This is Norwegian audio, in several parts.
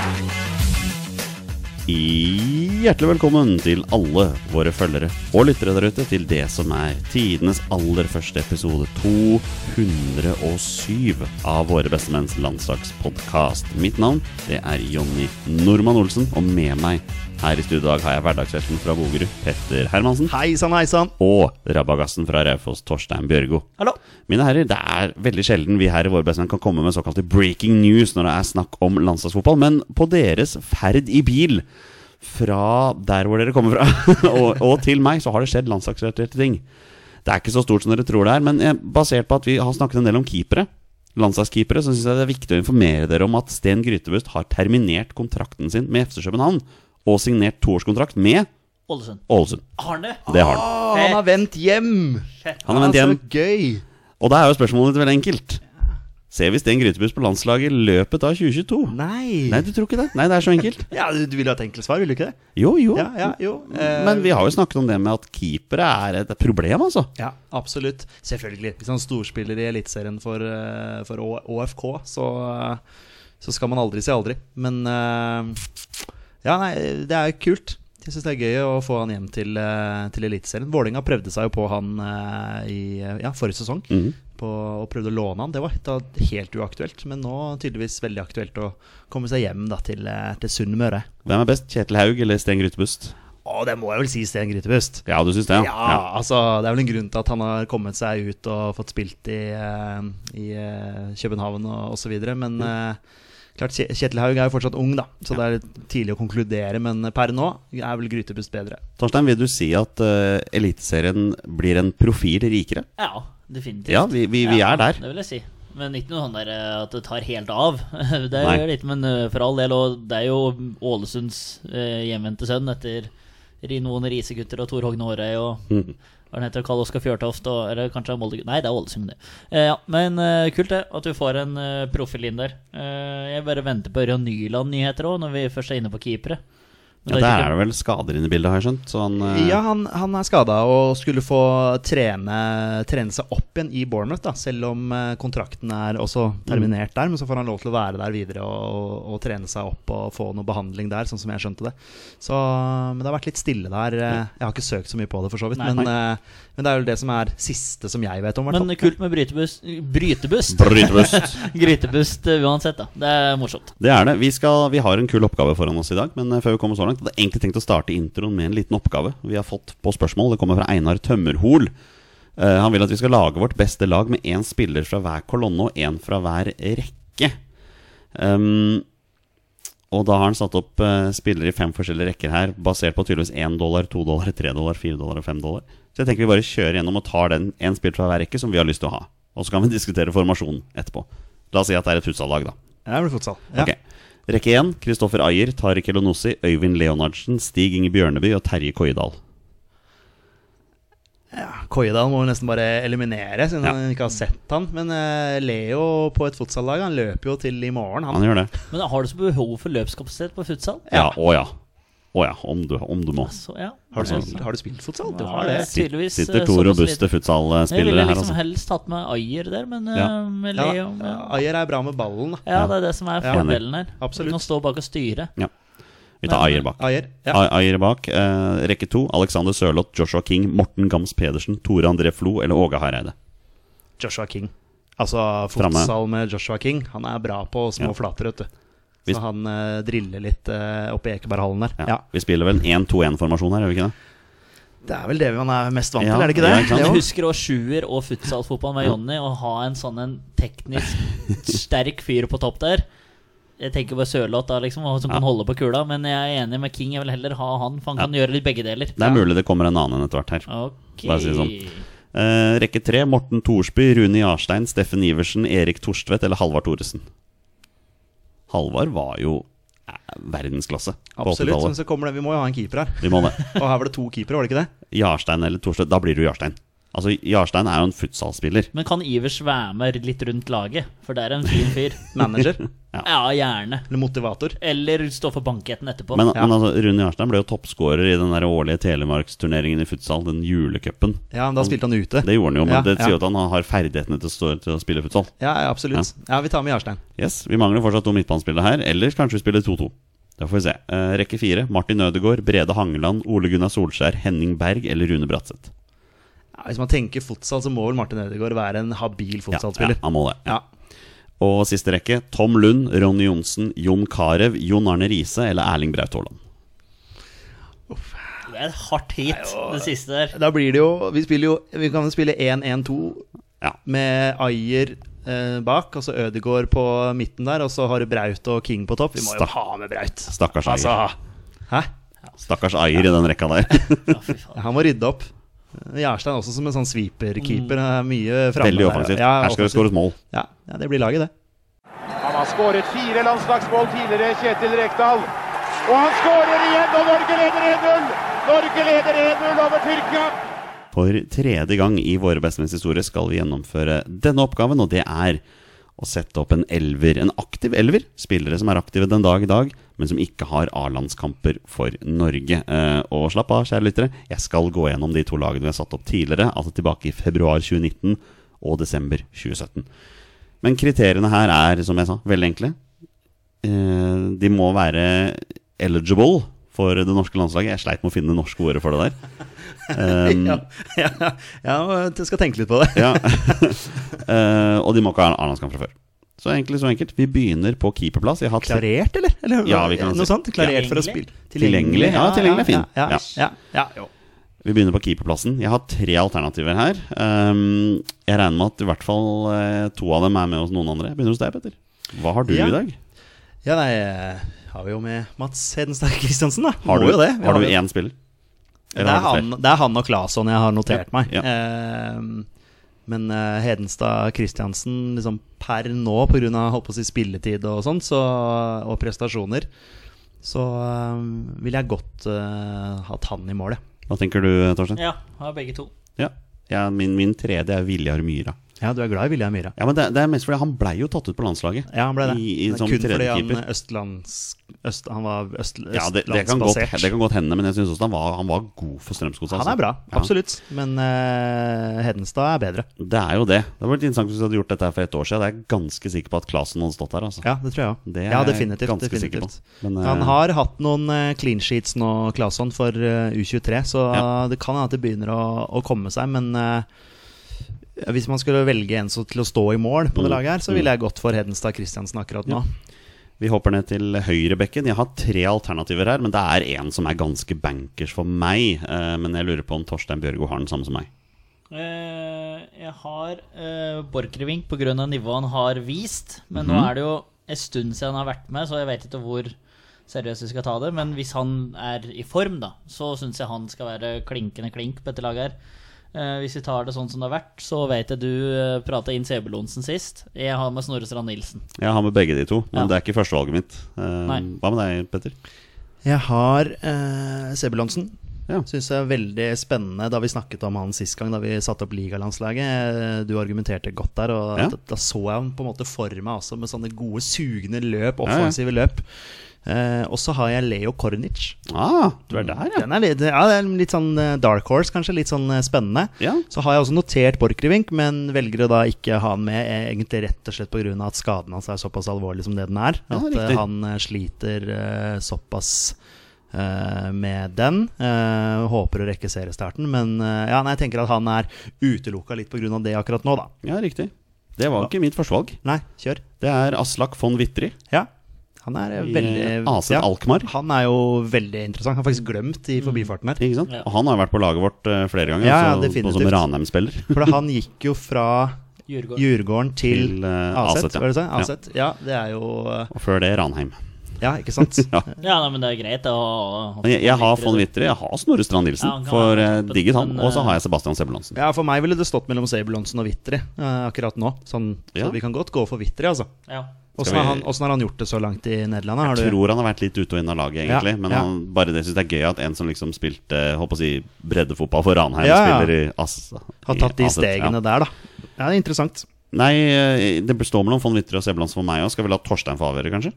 Hjertelig velkommen til alle våre følgere og lyttere der ute til det som er tidenes aller første episode 207 av Våre beste menns landslagspodkast. Mitt navn det er Jonny Normann Olsen, og med meg her i studio i dag har jeg hverdagshelten fra Bogerud, Petter Hermansen, Hei sann, hei sann. og rabagassen fra Raufoss, Torstein Bjørgo. Hallo. Mine herrer, det er veldig sjelden vi her i vår bestemann kan komme med såkalte breaking news når det er snakk om landslagsfotball, men på deres ferd i bil fra der hvor dere kommer fra, og, og til meg, så har det skjedd landslagsrelaterte ting. Det er ikke så stort som dere tror det er, men eh, basert på at vi har snakket en del om keepere, landslagskeepere, så syns jeg det er viktig å informere dere om at Sten Grytebust har terminert kontrakten sin med FC København og signert toårskontrakt med Ålesund. Ålesund. Arne! Det har han. Å, Ah, han har vendt hjem! Han har vendt hjem. Så gøy! Og da er jo spørsmålet ditt veldig enkelt. Ser vi Sten Grytebust på landslaget i løpet av 2022? Nei. Nei, du tror ikke det? Nei, det er så enkelt. Ja, du, du ville ha et enkelt svar, ville du ikke det? Jo, jo. Ja, ja, jo. Eh, Men vi har jo snakket om det med at keepere er et problem, altså. Ja, absolutt. Selvfølgelig. Hvis han storspiller i Eliteserien for, eh, for Å- ÅFK, så, eh, så skal man aldri si aldri. Men eh, Ja, nei, det er kult. Jeg syns det er gøy å få han hjem til, eh, til Eliteserien. Vålerenga prøvde seg jo på han eh, i eh, ja, forrige sesong. Mhm. På, og prøvde å låne han. Det var da helt uaktuelt. Men nå tydeligvis veldig aktuelt å komme seg hjem da, til, eh, til Sunnmøre. Hvem er best, Kjetil Haug eller Sten Grytebust? Å, det må jeg vel si, Sten Grytebust. Ja, du syns det, Ja, altså Det er vel en grunn til at han har kommet seg ut og fått spilt i, eh, i eh, København og osv. Men eh, klart, Kje- Kjetil Haug er jo fortsatt ung, da så det er litt tidlig å konkludere. Men per nå er vel Grytebust bedre. Torstein, vil du si at uh, Eliteserien blir en profil rikere? Ja, definitivt. Ja, vi, vi, vi Ja, er der. Det vil jeg si. Men ikke noe sånn der eh, at det tar helt av. det Nei. gjør det ikke, men eh, for all del. Og det er jo Ålesunds eh, hjemvendte sønn etter ri- noen risegutter og Tor Hogne Hårøy og Mhm. hva han heter, Karl Oskar Fjørtoft og Eller kanskje han er Molde Nei, det er Ålesund, det. Eh, ja, men eh, kult, det. At du får en eh, profil inn der. Eh, jeg bare venter på Ørjan Nyland-nyheter òg, når vi først er inne på keepere. Ja, Men det der er er ikke- det vel skader inne i bildet, har jeg skjønt. Så han eh, Ja, han, han er skada og skulle få trene, trene seg opp igjen i Bournemouth, da, selv om eh, kontrakten er også Mm. terminert der. Men så får han lov til å være der videre og, og trene seg opp og få noe behandling der, sånn som jeg skjønte det. Så, men det har vært litt stille der. eh, Jeg har ikke søkt så mye på det, for så vidt. Nei. men, eh, men det er jo det som er siste som jeg vet om, i hvert Men fall. kult med brytebust. Brytebust? Brytebust. Grytebust eh, uansett, da. Det er morsomt. Det er det. Vi, skal, vi har en kul oppgave foran oss i dag, men eh, før vi kommer så langt hadde jeg egentlig tenkt å starte introen med en liten oppgave vi har fått på spørsmål. Det kommer fra Einar Tømmerhol. Eh, han vil at vi skal lage vårt beste lag med én spiller fra hver kolonne og én fra hver rekke. Ehm, og da har han satt opp eh, spillere i fem forskjellige rekker her, basert på tydeligvis én dollar, to dollar, tre dollar, fire dollar og fem dollar. Så jeg tenker vi bare kjører gjennom og tar den én spiller fra hver rekke som vi har lyst til å ha. Og så kan vi diskutere formasjonen etterpå. La oss si at det er et Futsal-lag, da. Ja, det blir fotsal. Ja. Ok. Rekke 1. Kristoffer Ayer, Tariq Elonossi, Øyvind Leonardsen, Stig Inge Bjørneby og Terje Koidal. Koidal må vi nesten bare eliminere, siden Ja. han ikke har sett han. Men eh, Leo på et fotsallag, han løper jo til i morgen, han. Han gjør det? Men har du så behov for løpskapasitet på futsal? Ja. Å ja. Å ja. Om du, om du må. Så ja. Har du, spilt, har du spilt fotsal? Du Ja, har det. jeg- Sit- Tydeligvis, Sitter eh, to såpass robuste liten. Jeg futsalspillere ville her, liksom altså. helst hatt med Ayer der, men eh, Ja. med Ja, Leo ja, ja. Ayer er bra med ballen, da. ja, det er det som er Ja. fordelen her. Absolutt. Du kan stå bak og styre. Vi tar Ayer bak. Ayer. Ja. A- Ayer bak. Eh, rekke 2. Alexander Sørloth, Joshua King, Morten Gams Pedersen, Tore André Flo eller Åge Hareide. Joshua King. Altså Framme. fotsal med Joshua King. Han er bra på små Ja. flater, vet du. Hvis- Så han eh, driller litt uh, oppe i Ekeberghallen der. Ja. Ja. Vi spiller vel en 1-2-1-formasjon her, gjør vi ikke det? Det er vel det man er mest vant Ja, til, er det ikke ja, det? ikke sant? Leo? Jeg husker også sjuer og futsalfotball med Jonny, å ha en sånn en teknisk sterk fyr på topp der. Jeg tenker bare Sørloth, da, liksom, og som kan holde på kula. Men jeg er enig med King. Jeg vil heller ha han, for han kan gjøre litt begge deler. Det er mulig det kommer en annen enn etter hvert her. Ok. Bare si det sånn. Eh, rekke tre Morten Thorsby, Rune Jarstein, Steffen Iversen, Erik Torstvedt eller Halvard Thoresen. Halvard var jo eh, verdensklasse på Absolutt. Men 80-tallet. så kommer det Vi må jo ha en keeper her. Vi må det. Og her var det to keepere, var det ikke det? Jarstein eller Thorstvedt, da blir du Jarstein. Altså, Jarstein er jo en futsalspiller. Men kan Ivers være med litt rundt laget? For det er en fin fyr. Manager. Ja, gjerne. Eller motivator. Eller stå for banketten etterpå. Men, Ja. men altså, Rune Jarstein ble jo toppskårer i den der årlige telemarksturneringen i futsal, den julecupen. Ja, men da spilte han ute. Det gjorde han jo, men Ja, det sier jo ja. at han har ferdighetene til å, stå, til å spille futsal. Ja, ja, absolutt. Ja, vi tar med Jarstein. Yes, Vi mangler fortsatt to midtbanespillere her, eller kanskje vi spiller 2-2. Da får vi se. Eh, rekke fire. Martin Ødegaard, Brede Hangeland, Ole Gunnar Solskjær, Henning Berg eller Rune Bratseth. Ja, hvis man tenker fotsal, så må vel Martin Ødegaard være en habil ja, fotsalspiller. han må det. Ja. Og siste rekke. Tom Lund, Ronny Johnsen, Jon Carew, Jon Arne Riise eller Erling Braut Haaland. det er et hardt hit, det siste der. Da blir det jo Vi, spiller jo, vi kan spille 1-1-2 Ja. med Ayer eh, bak, altså Ødegaard på midten der, og så har du Braut og King på topp. Vi må jo Stakk- ha med Braut. Stakkars Ayer. Altså, hæ? Stakkars Ayer i den rekka der. Ja, fy faen. Han må rydde opp. Jarstein også som en sånn sweeper-keeper. er Mye framme Veldig der. offensivt. Ja, Her skal det offensivt. skåres mål. Ja, ja, det blir laget, det. Han har skåret fire landslagsmål tidligere, Kjetil Rekdal. Og han skårer igjen, og Norge leder 1-0! Norge leder 1-0 over Tyrkia! For tredje gang i Våre bestemenns historie skal vi gjennomføre denne oppgaven, og det er å sette opp en elver. En aktiv elver. Spillere som er aktive den dag i dag, men som ikke har A-landskamper for Norge. Eh, og slapp av, kjære lyttere, jeg skal gå gjennom de to lagene vi har satt opp tidligere, altså tilbake i februar 2019 og desember 2017. Men kriteriene her er, som jeg sa, veldig enkle. Eh, de må være eligible for det norske landslaget. Jeg sleit med å finne det norske ordet for det der. Eh, Mm. ja, ja, ja, jeg skal tenke litt på det. Ja. Eh, og de må ikke ha en A-landskamp fra før. Så egentlig så enkelt. Vi begynner på keeperplass. Jeg har hatt Klarert, eller? eller Ja, vi kan noe si- sånt? Klarert for å Tilgjengelig? spille. Tilgjengelig? Ja, tilgjengelig er fin. Ja, ja, ja, ja, jo. Vi begynner på keeperplassen. Jeg har tre alternativer her. Ehm, jeg regner med at i hvert fall eh, to av dem er med hos noen andre. Jeg begynner hos deg, Petter. Hva har du Ja. i dag? ja nei, eh, har vi jo med Mats Hedenstad Christiansen, da. Har Må du, jo det. Vi har du jo- én spiller? Det er, han, det er han og Claesson jeg har notert Ja, meg. ja. Ehm, men eh, Hedenstad Christiansen liksom per nå, pga. Si, spilletid og sånt, så, og prestasjoner, så eh, vil jeg godt eh, hatt han i målet. Hva tenker du, Torstein? Ja. Ja, har begge to. Ja, min, min tredje er Viljar Myra. Ja, du er glad i William Myhra? Ja, men det, det er mest fordi han blei jo tatt ut på landslaget. Ja, han ble det. I, i, Det er som kun fordi han, tredjekeeper. østlands, øst, han var øst, Ja, det, det, kan godt, østlandsbasert. det kan godt hende, men jeg syns også han var, han var god for Strømsgodset. han altså. er bra, Ja. absolutt. Men eh, Hedenstad er bedre. Det er jo det. Det hadde vært interessant hvis du hadde gjort dette her for et år siden. Det er jeg ganske sikker på at Klasen hadde stått der. Altså. Ja, det tror jeg òg. Det er Ja, jeg definitivt. ganske sikker definitivt. på. Men, Han eh, har hatt noen eh, clean sheets nå, Claesson, for eh, U23, så Ja. eh, det kan hende at det begynner å, å komme seg, men eh, hvis man skulle velge en som til å stå i mål på det Mm. laget her, så ville jeg gått for Hedenstad Christiansen akkurat nå. Vi hopper ned til høyrebekken. Jeg har tre alternativer her, men det er én som er ganske bankers for meg. eh, Men jeg lurer på om Torstein Bjørgo har den samme som meg. Eh, jeg har uh, Borchgrevink pga. nivået han har vist. Men nå er det jo en stund siden han har vært med, så jeg vet ikke hvor seriøst vi skal ta det. Men hvis han er i form, da, så syns jeg han skal være klinkende klink på dette laget her. Eh, hvis vi tar det sånn som det har vært, så vet jeg du uh, prata inn Sebulonsen sist. Jeg har med Snorre Strand Nilsen. Jeg har med begge de to, men Ja. det er ikke førstevalget mitt. Eh, Nei. Hva med deg, Petter? Jeg har eh, Sebulonsen. Ja. Syns jeg er veldig spennende da vi snakket om han sist gang, da vi satte opp ligalandslaget. Eh, Du argumenterte godt der, og Ja. da, da så jeg ham på en måte for meg også, med sånne gode, sugende løp, ja. offensive løp. Eh, og så har jeg Leo Kornic. Ah, du er der, ja. Den er litt, ja, det er litt sånn eh, dark horse, kanskje. Litt sånn eh, spennende. Ja. Så har jeg også notert Borchgrevink, men velger å da ikke ha han med, eh, egentlig rett og slett pga. at skaden hans er såpass alvorlig som det den er. Ja, at eh, riktig. han eh, sliter eh, såpass eh, med den. Eh, håper å rekke seriestarten, men eh, ja, nei, jeg tenker at han er utelukka litt pga. det akkurat nå, da. ja, riktig. Det var ikke mitt førstevalg. Nei, kjør. Det er Aslak von Wittry. Ja. Han er eh, I, veldig eh, AC Alkmaar. Han er jo veldig interessant. Han har faktisk glemt Mm. i forbifarten her. Ikke sant? Ja. Og han har jo vært på laget vårt eh, flere ganger, Ja, ja, så- og som definitivt. Ranheim-spiller. For da han gikk jo fra Djurgården. Djurgården til, Til, eh, Aset, Aset, ja. var det du sa? Ja. Aset. Ja. det er jo eh, Og før det Ranheim. Ja, ikke sant? Ja. Ja, nei, men det er greit å ha Jeg, jeg har von Witter, jeg har Snorre Strand Ja, han Nilsen, kan for være eh, toppen, digget han. men, Og så eh, har jeg Sebastian Sebulonsen. Ja, For meg ville det stått mellom Sabelonsen og Vitri eh, akkurat nå. Sånn, Ja. Så vi kan godt gå for Vitri, altså. Ja. Åssen Skal har, vi- han- hvordan har han gjort det så langt i Nederland? da? Har du... Jeg tror han har vært litt ute og inn av laget, Ja, egentlig. Men ja. han, bare det syns jeg er gøy at en som liksom spilte håper å si, breddefotball for Ranheim, Ja, ja. spiller i Ass... Har tatt de i Aset, stegene Ja. der, da. Ja, det er interessant. Nei, eh, det består mellom von Witter og Sebulonsen for meg òg. Skal vi la Torstein få avgjøre, kanskje?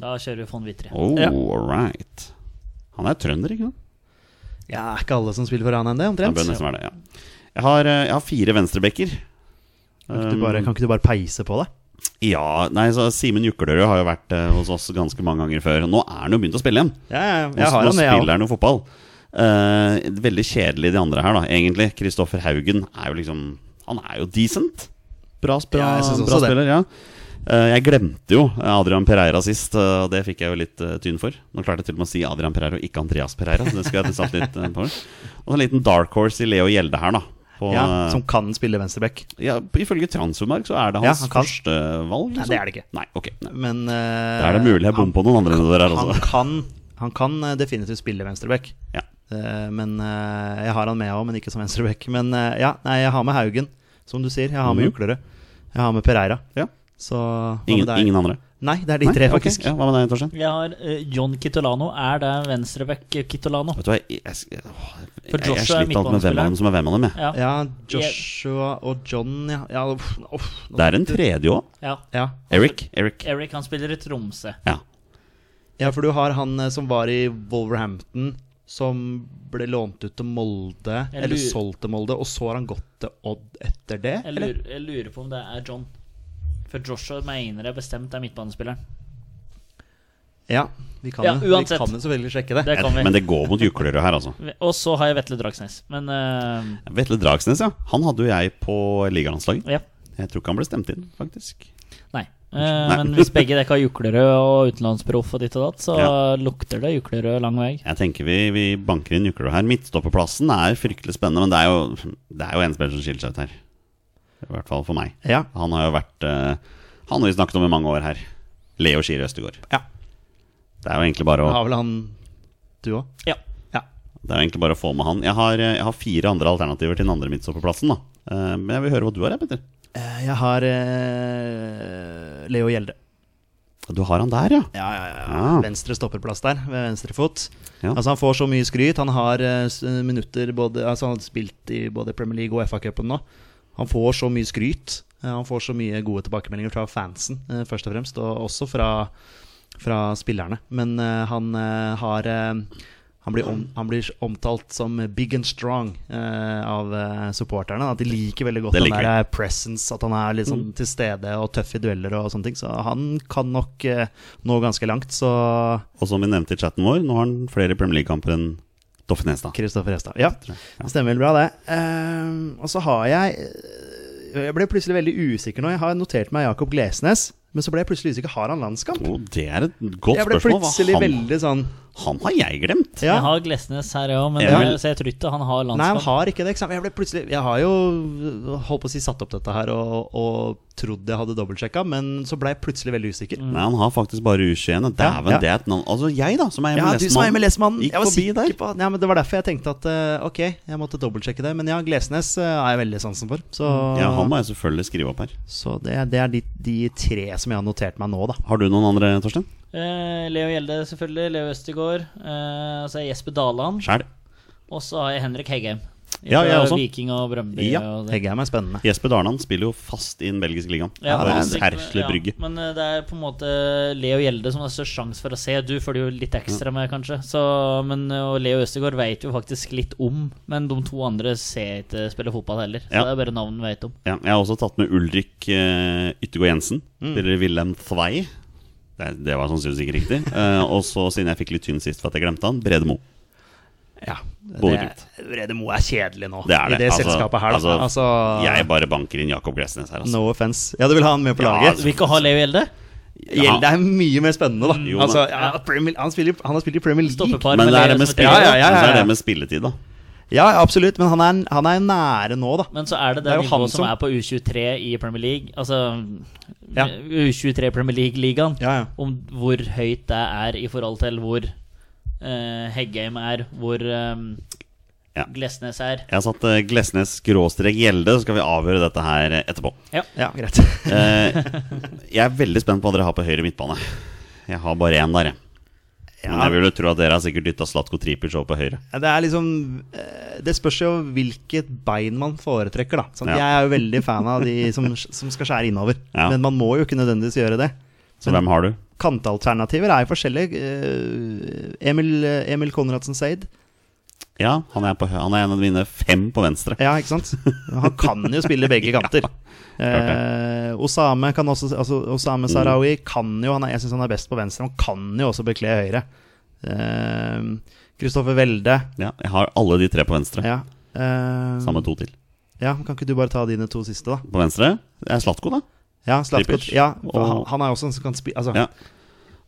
Da kjører vi von Wittry. Oh, Ja. all right. Han er trønder, ikke sant? Ja, er ikke alle som spiller for Ranheim det, Ja, omtrent? bør nesten være det, ja. jeg, har, eh, jeg har fire venstrebacker. Kan ikke, du bare, kan ikke du bare peise på det? Ja, nei, så Simen Juklerød har jo vært eh, hos oss ganske mange ganger før. og Nå er han jo begynt å spille igjen. Ja, ja, ja, Nå, jeg nå har han, jeg spiller også. han jo fotball. Eh, veldig kjedelig de andre her, da, egentlig. Kristoffer Haugen er jo liksom Han er jo decent. Bra, sp- bra, Ja, jeg synes også bra det. spiller, ja. Eh, jeg glemte jo Adrian Pereira sist, eh, og det fikk jeg jo litt eh, tyn for. Nå klarte jeg til og med å si Adrian Pereira og ikke Andreas Pereira. Så det skulle jeg satt litt eh, på. Og så en liten dark horse i Leo Gjelde her, da. På, Ja, eh, som kan spille venstreback. ja, ifølge Transfermark så er det Ja, hans han kan. førstevalg. Nei, det er det ikke. Nei, ok Nei. Men eh, Da er det mulig jeg bom på noen andre enn det altså. der Han også. kan, han kan eh, definitivt spille venstreback. Ja. Eh, Men eh, jeg har han med òg, men ikke som venstreback. Men eh, ja, nei, jeg har med Haugen, som du sier. Jeg har med Mhm. Juklerød. Jeg har med Pereira. Ja. Så hva med Ingen, deg? ingen andre? Nei, det er de tre, Nei? Ok, faktisk. Ja, hva med deg, Torstein? Jeg har eh, John Kitolano. Er det venstreback Kitolano? Vet du hva, jeg, jeg, jeg, åh, jeg, jeg, For jeg Joshua er sliter alltid med hvem av midtbanespiller. dem som er hvem av dem. Jeg. Ja. Ja, Joshua og John, ja. ja uff, uff, nå- Det er en tredje òg. ja. ja. Eric. Eric. Eric, han spiller i Tromsø. Ja. ja, for du har han eh, som var i Wolverhampton, som ble lånt ut til Molde, Jeg eller lurer- solgt til Molde, og så har han gått til Odd etter det? Jeg eller? lurer, jeg lurer på om det er John. For Joshua mener jeg bestemt er midtbanespilleren. Ja, vi kan, Ja, jo- uansett. vi kan jo selvfølgelig sjekke det. Det kan vi. Men det går mot Juklerød her, altså. Og så har jeg Vetle Dragsnes. Men eh, Vetle Dragsnes, ja. Han hadde jo jeg på ligalandslaget. ja. Jeg tror ikke han ble stemt inn, faktisk. Nei. Eh, Nei. Men hvis begge dekk har juklerød og utenlandsproff og ditt og datt, så Ja. lukter det juklerød lang vei. Jeg tenker vi, vi banker inn Juklerød her. Midtstopperplassen er fryktelig spennende, men det er jo, det er jo en spiller som skiller seg ut her. I hvert fall for meg. Ja, Han har jo vært eh, Han har vi snakket om i mange år her. Leo Skier Østegård. Ja. Det er jo egentlig bare å har vel han du òg? Ja. Det er jo egentlig bare å få med han. Jeg har, eh, jeg har fire andre alternativer til den andre midtstopperplassen. da. Eh, Men jeg vil høre hva du har, jeg, Petter. Jeg har eh, Leo Gjelde. Du har han der, ja. Ja, ja, ja. Ah. Venstre stopperplass der, ved venstre fot. Ja. Altså, han får så mye skryt. Han har eh, s- minutter både Altså, han har spilt i både Premier League og FA-cupen nå. Han får så mye skryt. Eh, Han får så mye gode tilbakemeldinger fra fansen, eh, først og fremst, og også fra, fra spillerne. Men eh, han eh, har eh, han blir, om, han blir omtalt som big and strong eh, av eh, supporterne. At de liker veldig godt Det den liker der eh, presence, at han er litt sånn til stede og tøff i dueller og sånne ting. Så han kan nok eh, nå ganske langt. Så Og som vi nevnte i chatten vår, nå har han flere Premier League-kamper enn Doffe Nestad. Kristoffer Hestad. Ja, det stemmer vel bra, det. Eh, og så har jeg eh, Jeg ble plutselig veldig usikker nå. Jeg har notert meg Jakob Glesnes, men så ble jeg plutselig usikker. Har han landskamp? Oh, det er et godt Jeg ble spørsmål. plutselig Hva han, veldig sånn han har jeg glemt. Ja. Jeg har Glesnes her òg, men Ja. det- så jeg tror ikke han har Nei, han landskap. har ikke det. Ikke sant? Jeg ble plutselig Jeg har jo holdt på å si satt opp dette her og, og trodd jeg hadde dobbeltsjekka, men så ble jeg plutselig veldig usikker. Nei, han har faktisk bare U21. Dæven, Ja, ja. det er et navn Altså jeg, da, som er Ja, du som er MLS-mann. MLS-mannen. Gikk Jeg var forbi sikker der. på ja, men Det var derfor jeg tenkte at eh, ok, jeg måtte dobbeltsjekke det. Men ja, Glesnes eh, er jeg veldig sansen for. Så, Ja, han må jeg selvfølgelig skrive opp her. så det, det er de, de tre som jeg har notert meg nå, da. Har du noen andre, Torstein? Eh, Leo Gjelde, selvfølgelig. Leo Østegård. Eh, så er Jesper Daland. Sjæl. Og så har jeg Henrik Heggheim. Ja, jeg Fra også. Viking og Brøndby. Ja, og det. Heggheim er spennende. Jesper Darnan spiller jo fast i den belgiske ligaen. Ja, det bare er- Hersle Brygge. Ja, men eh, det er på en måte Leo Gjelde som har størst sjanse for å se. Du følger jo litt ekstra med, kanskje. Så, men, eh, og Leo Østegård vet jo faktisk litt om, men de to andre ser ikke spille fotball heller. Så Ja. det er bare navn vi vet om. Ja, jeg har også tatt med Ulrik uh, Yttergård Jensen. Spiller i Wilhelm Thwei. Det, det var sannsynligvis ikke riktig. Eh, og så, siden jeg fikk litt tynn sist for at jeg glemte han, Brede Mo. Ja, Bodø-Glimt. Brede Moe er kjedelig nå, Det er det. i det Altså, selskapet her. Da. altså, Altså, Jeg bare banker inn Jakob Glesnes her, altså. No offense. Ja, du vil ha han med på Ja, laget? Vil ikke ha Leo Gjelde? Ja. Gjelde er mye mer spennende, da. Jo, altså, men- ja, Premier, han, spiller, han har spilt i Premier League. Stoppepar Men med det er Leo det med, som spill- spiller. Ja, ja, ja, ja, men så er ja. det med spilletid, da. Ja, absolutt, men han er, han er nære nå, da. Men så er det Det det, er jo han nivået som som- er på U23 i Premier League. Altså Ja. U23 Premier League-ligaen. Ja, ja. Om hvor høyt det er i forhold til hvor eh, Heggheim er, hvor eh, Ja. Glesnes er. Jeg har satt eh, Glesnes skråstrek Gjelde, så skal vi avgjøre dette her eh, etterpå. Ja, greit. Eh, jeg er veldig spent på hva dere har på høyre midtbane. Jeg har bare én der, jeg. Men Ja. jeg vil jo tro at dere har sikkert dytta Slatko Tripic over på høyre. Ja, Det er liksom eh, Det spørs jo hvilket bein man foretrekker, da. Sånn, Ja. Jeg er jo veldig fan av de som, som skal skjære innover. Ja. Men man må jo ikke nødvendigvis gjøre det. Så hvem har du? Kantalternativer er jo forskjellige. Eh, Emil, Emil Konradsen Seid. Ja, han er, på, hø- han er en av mine fem på venstre. Ja, ikke sant? Han kan jo spille begge kanter. Eh, Osame kan også altså, Osame Sarawi Mm. kan jo han er, Jeg syns han er best på venstre. Han kan jo også bekle høyre. Eh, Kristoffer Welde. Ja, jeg har alle de tre på venstre. Ja. Eh, Samme to til. ja, kan ikke du bare ta dine to siste, da? På venstre det er Slatko, da. Ja, Zlatko, Tripic. ja for Og- han, han er jo også en som kan spille altså, Ja.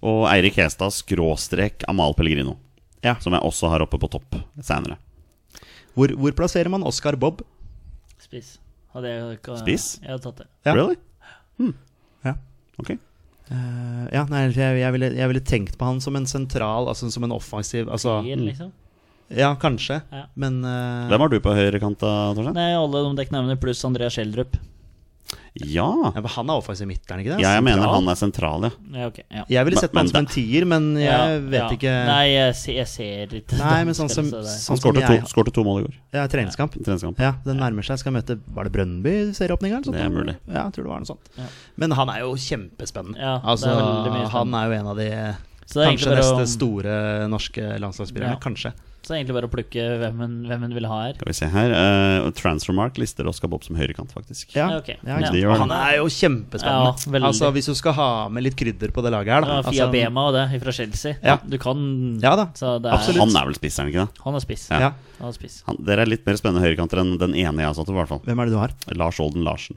Og Eirik Hestad skråstrek Amal Pellegrino. Ja. Som jeg også har oppe på topp senere. hvor, hvor plasserer man Oscar Bob? Spiss. Hadde jeg, ikke- Spiss? Jeg hadde tatt det. Ja. Really? Hmm. Ja. Ok. Eh, ja, nei, jeg, jeg, ville, jeg ville tenkt på han som en sentral, altså som en offensiv altså, Tier, liksom. Ja, kanskje, Ja. men eh, Hvem har du på høyrekant, da, Torstein? Nei, alle de dere nevner, pluss Andrea Schjelderup. Ja. ja, men Han er offensiv midt, er han ikke det? ja, jeg mener Sentral. han er sentral, ja. Ja, ok. Ja. Jeg ville sett på Men- han som en tier, men jeg Ja, vet ja. ikke Nei, jeg, se- jeg ser ikke Nei, den men sånn som, spillelsen der. Han sånn som skårte to, jeg skårte to mål i går. Ja, treningskamp. i Treningskamp. Ja, Den nærmer seg. Skal møte Var det Brøndby i serieåpninga? Det er mulig. Ja, jeg tror det var noe sånt. Ja. Men han er jo kjempespennende. Ja, det er altså, veldig mye spennende. han er jo en av de Så det er Kanskje egentlig bare neste å- store norske landslagsspillerne. Ja. Kanskje. Så det er egentlig bare å plukke hvem en, hvem en vil ha her. Skal vi se her. eh, Transfermark lister Oskar Bob som høyrekant, faktisk. Ja, Ja, ok. ja, ikke De sant? gjør det. Han er jo Ja, kjempespennende. veldig. altså, hvis du skal ha med litt krydder på det laget her, da. Ja, Fia altså, Bema og det, fra Chelsea. Ja. Du kan Ja da, så det er, Han absolutt. er vel spiss, er han ikke det? Han er spiss. Ja. Han er spiss. Han, dere er litt mer spennende høyrekanter enn den ene jeg har satt opp, i hvert fall. Hvem er det du har? Lars Olden Larsen.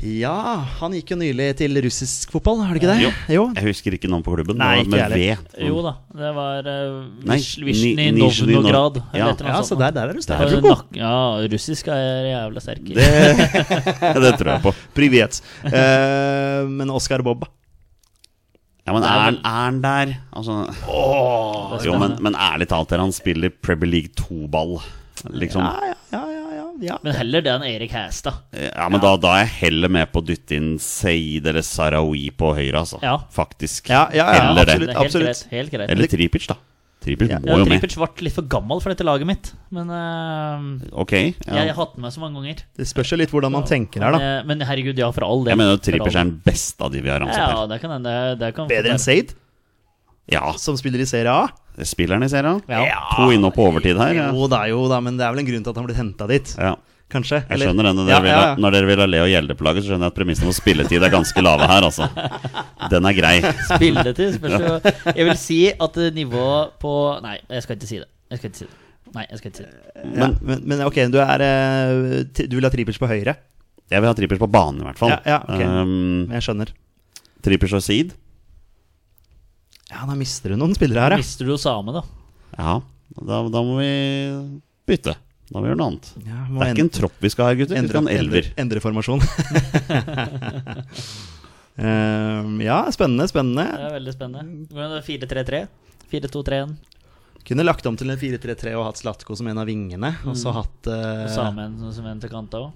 Ja, han gikk jo nylig til russisk fotball, har det ikke det? Jo. Jeg husker ikke navnet på klubben, Nei, men det var ikke jeg med V. Jo da, det var uh, Nei, Vizjny Ni- Nizhny Novnograd. Nov- eller Ja. et eller Ja, annet sånt så nå. der, der er du Og sterk. nak- Ja, russisk er jævla sterk. Det, det tror jeg på. Privet. Eh, men Oscar Bob Ja, men er han- er han der? Altså, Det er jo, men, spennende. men ærlig talt, dere, han spiller Premier League 2-ball. Liksom. Ja, ja, ja. ja, ja, ja. Men heller det enn Erik Hæstad. Ja, men Da, da er jeg heller med på å dytte inn Seid eller Sarawi på høyre, altså. Ja. Faktisk. Ja, ja, ja, Heller Det det. er helt absolutt. greit. Helt greit. Eller Tripic, da. Tripic Ja. ja, må jo med. Tripic ble litt for gammel for dette laget mitt, men eh, Ok. jeg, Ja. jeg har hatt den med så mange ganger. Det spørs jo litt hvordan man tenker her, da. Eh, Men herregud, ja, for all del. Jeg mener jo For all Tripic er del. den beste av de vi har ansatt Ja, her. det kan hende. Det kan Bedre enn Zaid, Ja, som spiller i Serie A. spilleren i serien. Ja. To inne på overtid her. Ja. Jo da, jo da, men det er vel en grunn til at han har blitt henta dit, Ja. kanskje? Jeg skjønner den, når dere, Ja, vil ja, ha, ja. når dere vil ha Leo Gjelde på laget, så skjønner jeg at premissene for spilletid er ganske lave her, altså. Den er grei. Spille til spørs jo Jeg vil si at eh, nivået på Nei, jeg skal ikke si det. Jeg skal ikke si det. Nei, jeg skal ikke si det. Men, men, men ok, du, er, eh, ti- du vil ha Tripic på høyre? Jeg vil ha Tripic på banen, i hvert fall. Ja, ja, ok. um, Jeg skjønner. Tripic og Seed. Ja, da mister du noen spillere her, ja. Mister du Osame, da? Ja, da, da må vi bytte. Da må vi gjøre noe annet. ja Det er ikke en tropp vi skal ha, gutter. Vi skal ha en elver. endre, endre formasjon. Ehm, ja, spennende, Det spennende. er veldig spennende. Hvordan er det 4-3-3? 4-2-3-1. Kunne lagt om til en 4-3-3 og hatt Slatko som en av vingene. Og Mm. så hatt eh, Osame en som- som en til kanta òg.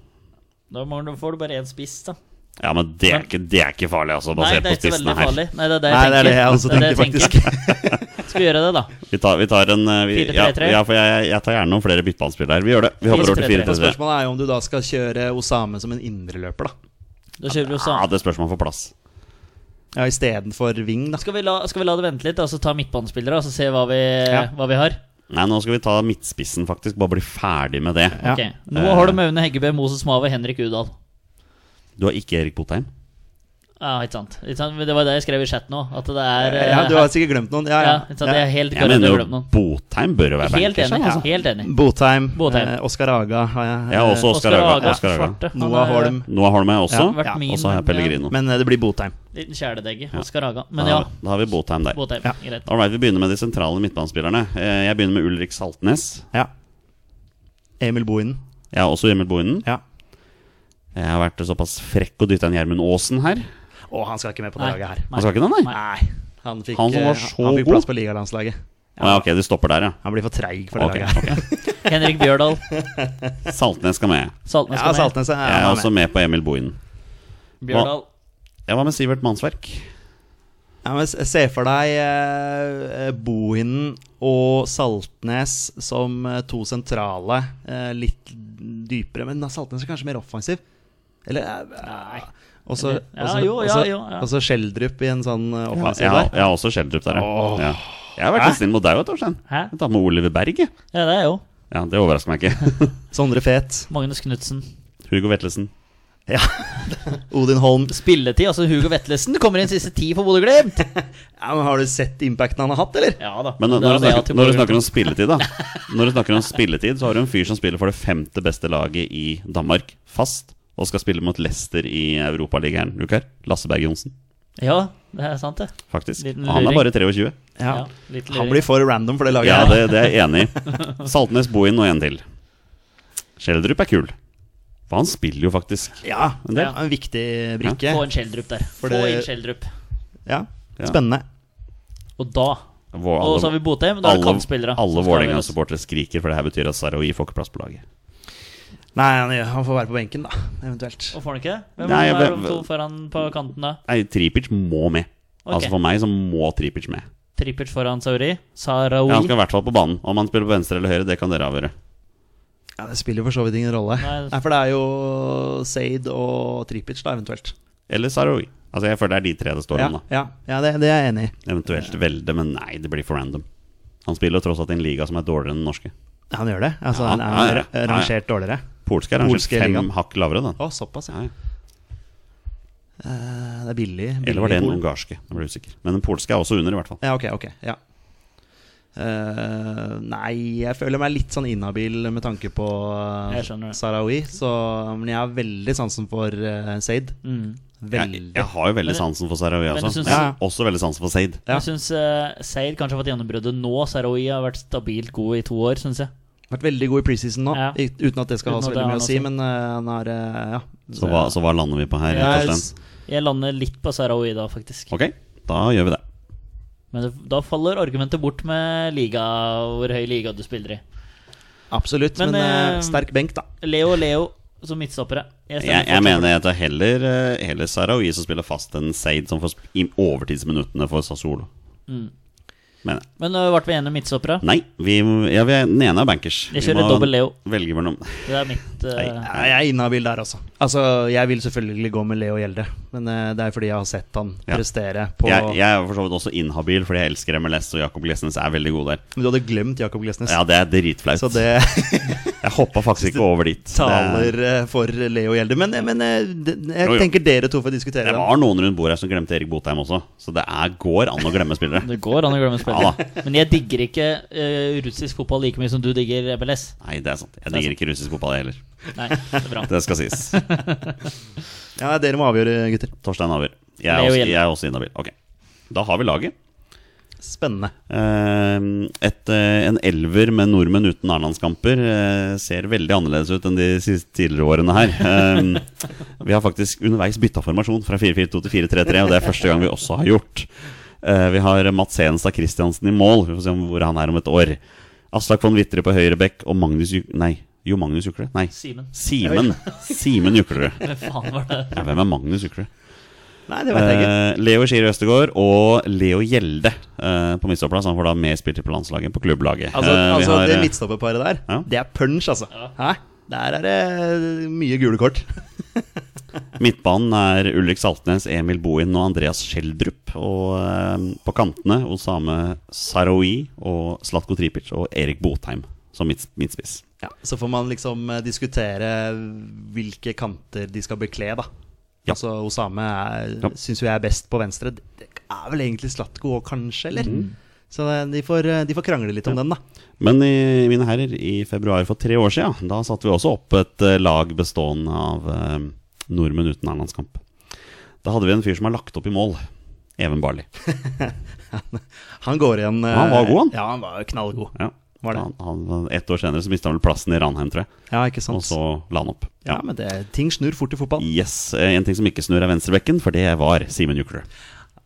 Da må du- får du bare én spiss, da. Ja, men det er ikke, det er ikke farlig, altså, Nei, basert det er på ikke så spissene veldig her. farlig. Nei, det er det jeg Nei, det tenker. er det jeg også Det er det tenker, faktisk. tenker. Skal vi gjøre det, da? Vi tar, vi tar en eh, vi, ja, 4-3-3. ja, for jeg, jeg tar gjerne noen flere bytteballspillere her. Vi gjør det. Vi hopper over til 4-3-3. 4-3-3. Spørsmålet er jo om du da skal kjøre Osame som en indreløper, da. Da kjører vi Ja, Osame. det spørs om han får plass. Ja, Istedenfor wing, da. Skal vi, la, skal vi la det vente litt, og så ta midtbanespillere og så se hva vi, Ja. hva vi har? Nei, nå skal vi ta midtspissen, faktisk. Bare bli ferdig med det. Ja. Ok, Nå har Eh. du Maune Heggebø, Moses Mave, Henrik Udal. Du har ikke Erik Botheim? Ja, ikke sant. Ikke sant? Men Det var det jeg skrev i chat nå. At det er eh, Ja, du har sikkert glemt noen. Ja, ja, ja. ikke sant? Det er helt Jeg korrekt mener å jo glemme noen. Botheim bør jo være Helt bankers. enig. han, Altså. Helt enig. Botheim. Botheim. Eh, Oskar Aga har jeg. Jeg har også eh, Oskar Haga. Oskar Haga. Svarte. Han Noah er- eh, Holm. Nå har du med også. Vært Ja, min, Og så har jeg Pellegrino. Men eh, det blir Botheim. Ja, liten kjæledegge. Oskar Haga. Da Men ja, har vi- Da har vi Botheim der. Botheim. Greit. All right, vi begynner med de sentrale midtbanespillerne. Eh, Jeg begynner med Ulrik Saltnes. Ja. Emil Bohinen. Jeg har også Emil Bohinen. Ja. Jeg har vært såpass frekk å dytte en Gjermund Aasen her. Og han skal ikke med på det Nei. laget her. Han skal ikke den, nei? Nei. Nei, han fikk, Han som var eh, så han fikk god. plass på Å ligalandslaget. Ah, ja, ok, det stopper der, ja. Han blir for treig for det Ok, laget. her. ok. Henrik Bjørdal. Saltnes skal med. Saltnes Ja, skal med. Saltnes er, Jeg han er er også med. med på Emil Bohinen. Bjørdal. Jeg var med Sivert Mannsverk. Ja, men se- se for deg eh, eh, Bohinen og Saltnes som eh, to sentrale. Eh, litt dypere, men da Saltnes er kanskje mer offensiv. Eller eh, Nei. Og så Eller- ja, og så- jo, og ja, så- jo, ja. og så Schjelderup i en sånn eh, offensiv Jeg har, der. jeg har også Schjelderup der, Åh. ja. ja. Jeg har vært litt snill mot deg, vet du, Torstein. Hæ? Jeg tar med Oliver Berg, jeg. Ja, det er jo Ja, det overrasker meg ikke. Sondre Fet. Magnus Knutsen. Hugo Vetlesen. Odin Holm. Spilletid, altså Hugo Vetlesen kommer inn siste ti for Bodø-Glimt! Ja, men har du sett impacten han har hatt, eller? Ja da. Men Det når er du, det jeg har snakker, til når du Bodø-Glimt. snakker om spilletid, da Når du snakker om spilletid, så har du en fyr som spiller for det femte beste laget i Danmark, fast, og skal spille mot Leicester i Europaligaen. Luker? Lasse Berg Johnsen, Ja, det er sant, det. faktisk. Liten Og han er luring. bare 23. Ja, litt Han luring. blir for random for det laget. Ja, her. det, det er jeg enig i. Saltnes, Bohin og en til. Schjelderup er kul. For han spiller jo faktisk. ja, En del. ja, en viktig brikke. Få en Schjelderup der. For Få det- inn Schjelderup. Ja, Ja. Spennende. Og da Vår- Og så har vi Botheim. Da er det alle, kantspillere. alle som skal avgjøres. Vålerenga-supportere skriker, for det her betyr at Sarawi får ikke plass på laget. Nei, han, han får være på benken, da. Eventuelt. Og får han ikke? Hvem Nei, er hvem- de to foran på kanten da? Nei, Tripic må med. Ok. Altså For meg så må Tripic med. Trippert foran Sauri. Sarawi. Ja, han skal i hvert fall på banen. Om han spiller på venstre eller høyre, det kan dere avgjøre. Ja, Det spiller jo for så vidt ingen rolle. Nei. Nei, For det er jo Zaid og Tripic, da, eventuelt. Eller Sarawi. Altså Jeg føler det er de tre det står Ja, om, da. ja, ja det, det er jeg enig i. Eventuelt Velde, men nei, det blir for random. Han spiller jo tross alt i en liga som er dårligere enn den norske. Han gjør det. Altså, Ja, han ja, er ja, ja. ra- rangert dårligere. Polske er kanskje Polske fem ligaen. hakk lavere, da. Å, såpass, ja. Ja, ja. Eh, Det er billig. billig Eller var det en pol. ungarske? Jeg ble usikker. Men den polske er også under, i hvert fall. Ja, ok, ok. Ja. Eh, nei, jeg føler meg litt sånn inhabil med tanke på eh, Jeg skjønner det. Sarawi. Så, men jeg har veldig sansen for uh, Zaid. Mm. Veldig. Jeg, jeg har jo veldig Men- sansen for Sarawi men også. du synes- Men jeg har også veldig sansen for Zaid. Ja. Jeg syns uh, Seid kanskje har fått gjennombruddet nå. Sarawi har vært stabilt god i to år, syns jeg. Vært veldig god i preseason nå, Ja. i- uten at det skal ha Uten så at det veldig har mye å noe si. å si. Men eh, han har eh, Ja. Så hva, så hva lander vi på her, Jeg- Torstein? Jeg lander litt på Sarawi da, faktisk. Ok, da gjør vi det. Men det, da faller argumentet bort med liga, hvor høy liga du spiller i. Absolutt. Men, Men, eh, eh, sterk benk, da. Leo Leo som midtstoppere. Jeg Jeg, stemmer jeg fortsatt for mener jeg tar heller, eh, heller Sarawi som spiller fast enn Zaid som får sp- i overtidsminuttene for Sassuolo. Men det. Mm. Men nå ble vi enige om midtstoppere. nei, vi, må- ja, vi er, den ene er bankers. Jeg Vi kjører må dobbel Leo. Velge mellom Det er mitt eh, Nei. Nei, jeg er inhabil der også. Altså, Jeg vil selvfølgelig gå med Leo Gjelde, men eh, det er fordi jeg har sett han Ja. prestere på jeg, jeg er for så vidt også inhabil, fordi jeg elsker MLS, og Jakob Glesnes er veldig god der. Men Du hadde glemt Jakob Glesnes, Ja, det er dritflaut. så det Jeg hoppa faktisk ikke over dit. Det- taler eh, for Leo Gjelde. Men, men eh, det- jeg Jo, jo. tenker dere to får diskutere Det det. var noen rundt bordet her som glemte Erik Botheim også, så det er, går an å glemme spillere. Det går an å glemme Ja spillet. Men jeg digger ikke eh, russisk fotball like mye som du digger MLS. Nei, det er sant. Jeg digger ikke russisk fotball, jeg heller. Nei, det er bra. Det skal sies. Ja, Dere må avgjøre, gutter. Torstein avgjør. Jeg er Leo også, Hjelm. jeg er også inhabil. Ok. Da har vi laget. Spennende. Eh, et, eh, en elver med nordmenn uten A-landskamper eh, ser veldig annerledes ut enn de siste tidligere årene her. Eh, vi har faktisk underveis bytta formasjon fra 4-4-2 til 4-3-3, og det er første gang vi også har gjort. Eh, vi har Mats Hedenstad Christiansen i mål, vi får se om hvor han er om et år. Aslak von Witre på høyre bekk og Magnus Juk... Nei, jo Magnus Jukle? Nei, Simen. Simen. Simen Juklerud. Hvem faen var det? Ja, hvem er Magnus Juklerud? Nei, det vet jeg ikke. Eh, Leo Skier Østegård og Leo Gjelde eh, på midtstopplass. Han får da mer spiltid på landslaget enn på klubblaget. Altså, Eh, vi altså har, Det eh, midtstopperparet der, Ja. det er punch, altså. Hæ? Der er det mye gule kort. Midtbanen er Ulrik Saltnes, Emil Bohin og Andreas Schjelderup. Og eh, på kantene Osame Saroui og Slatko Tripic og Erik Botheim som midt, midtspiss. Ja, Så får man liksom eh, diskutere hvilke kanter de skal bekle, da. Ja. Altså Osame er- Ja. syns jo jeg er best på venstre. Det- Det er vel egentlig Slatko òg, kanskje, eller? Mm. Så eh, de får, eh, de får krangle litt om den, da. Men i, mine herrer, i februar for tre år siden, da satte vi også opp et eh, lag bestående av eh, nordmenn uten A-landskamp. Da hadde vi en fyr som har lagt opp i mål. Even Barli. Han går igjen eh, Han var god, han. Ja, han var knallgod. Ja. var det. Han, han, ett år senere så mista han vel plassen i Ranheim, tror jeg. Ja, ikke sant. Og så la han opp. ja. men det, ting snur fort i fotball. Yes, eh, En ting som ikke snur, er venstrebekken, for det var Simen Jukler.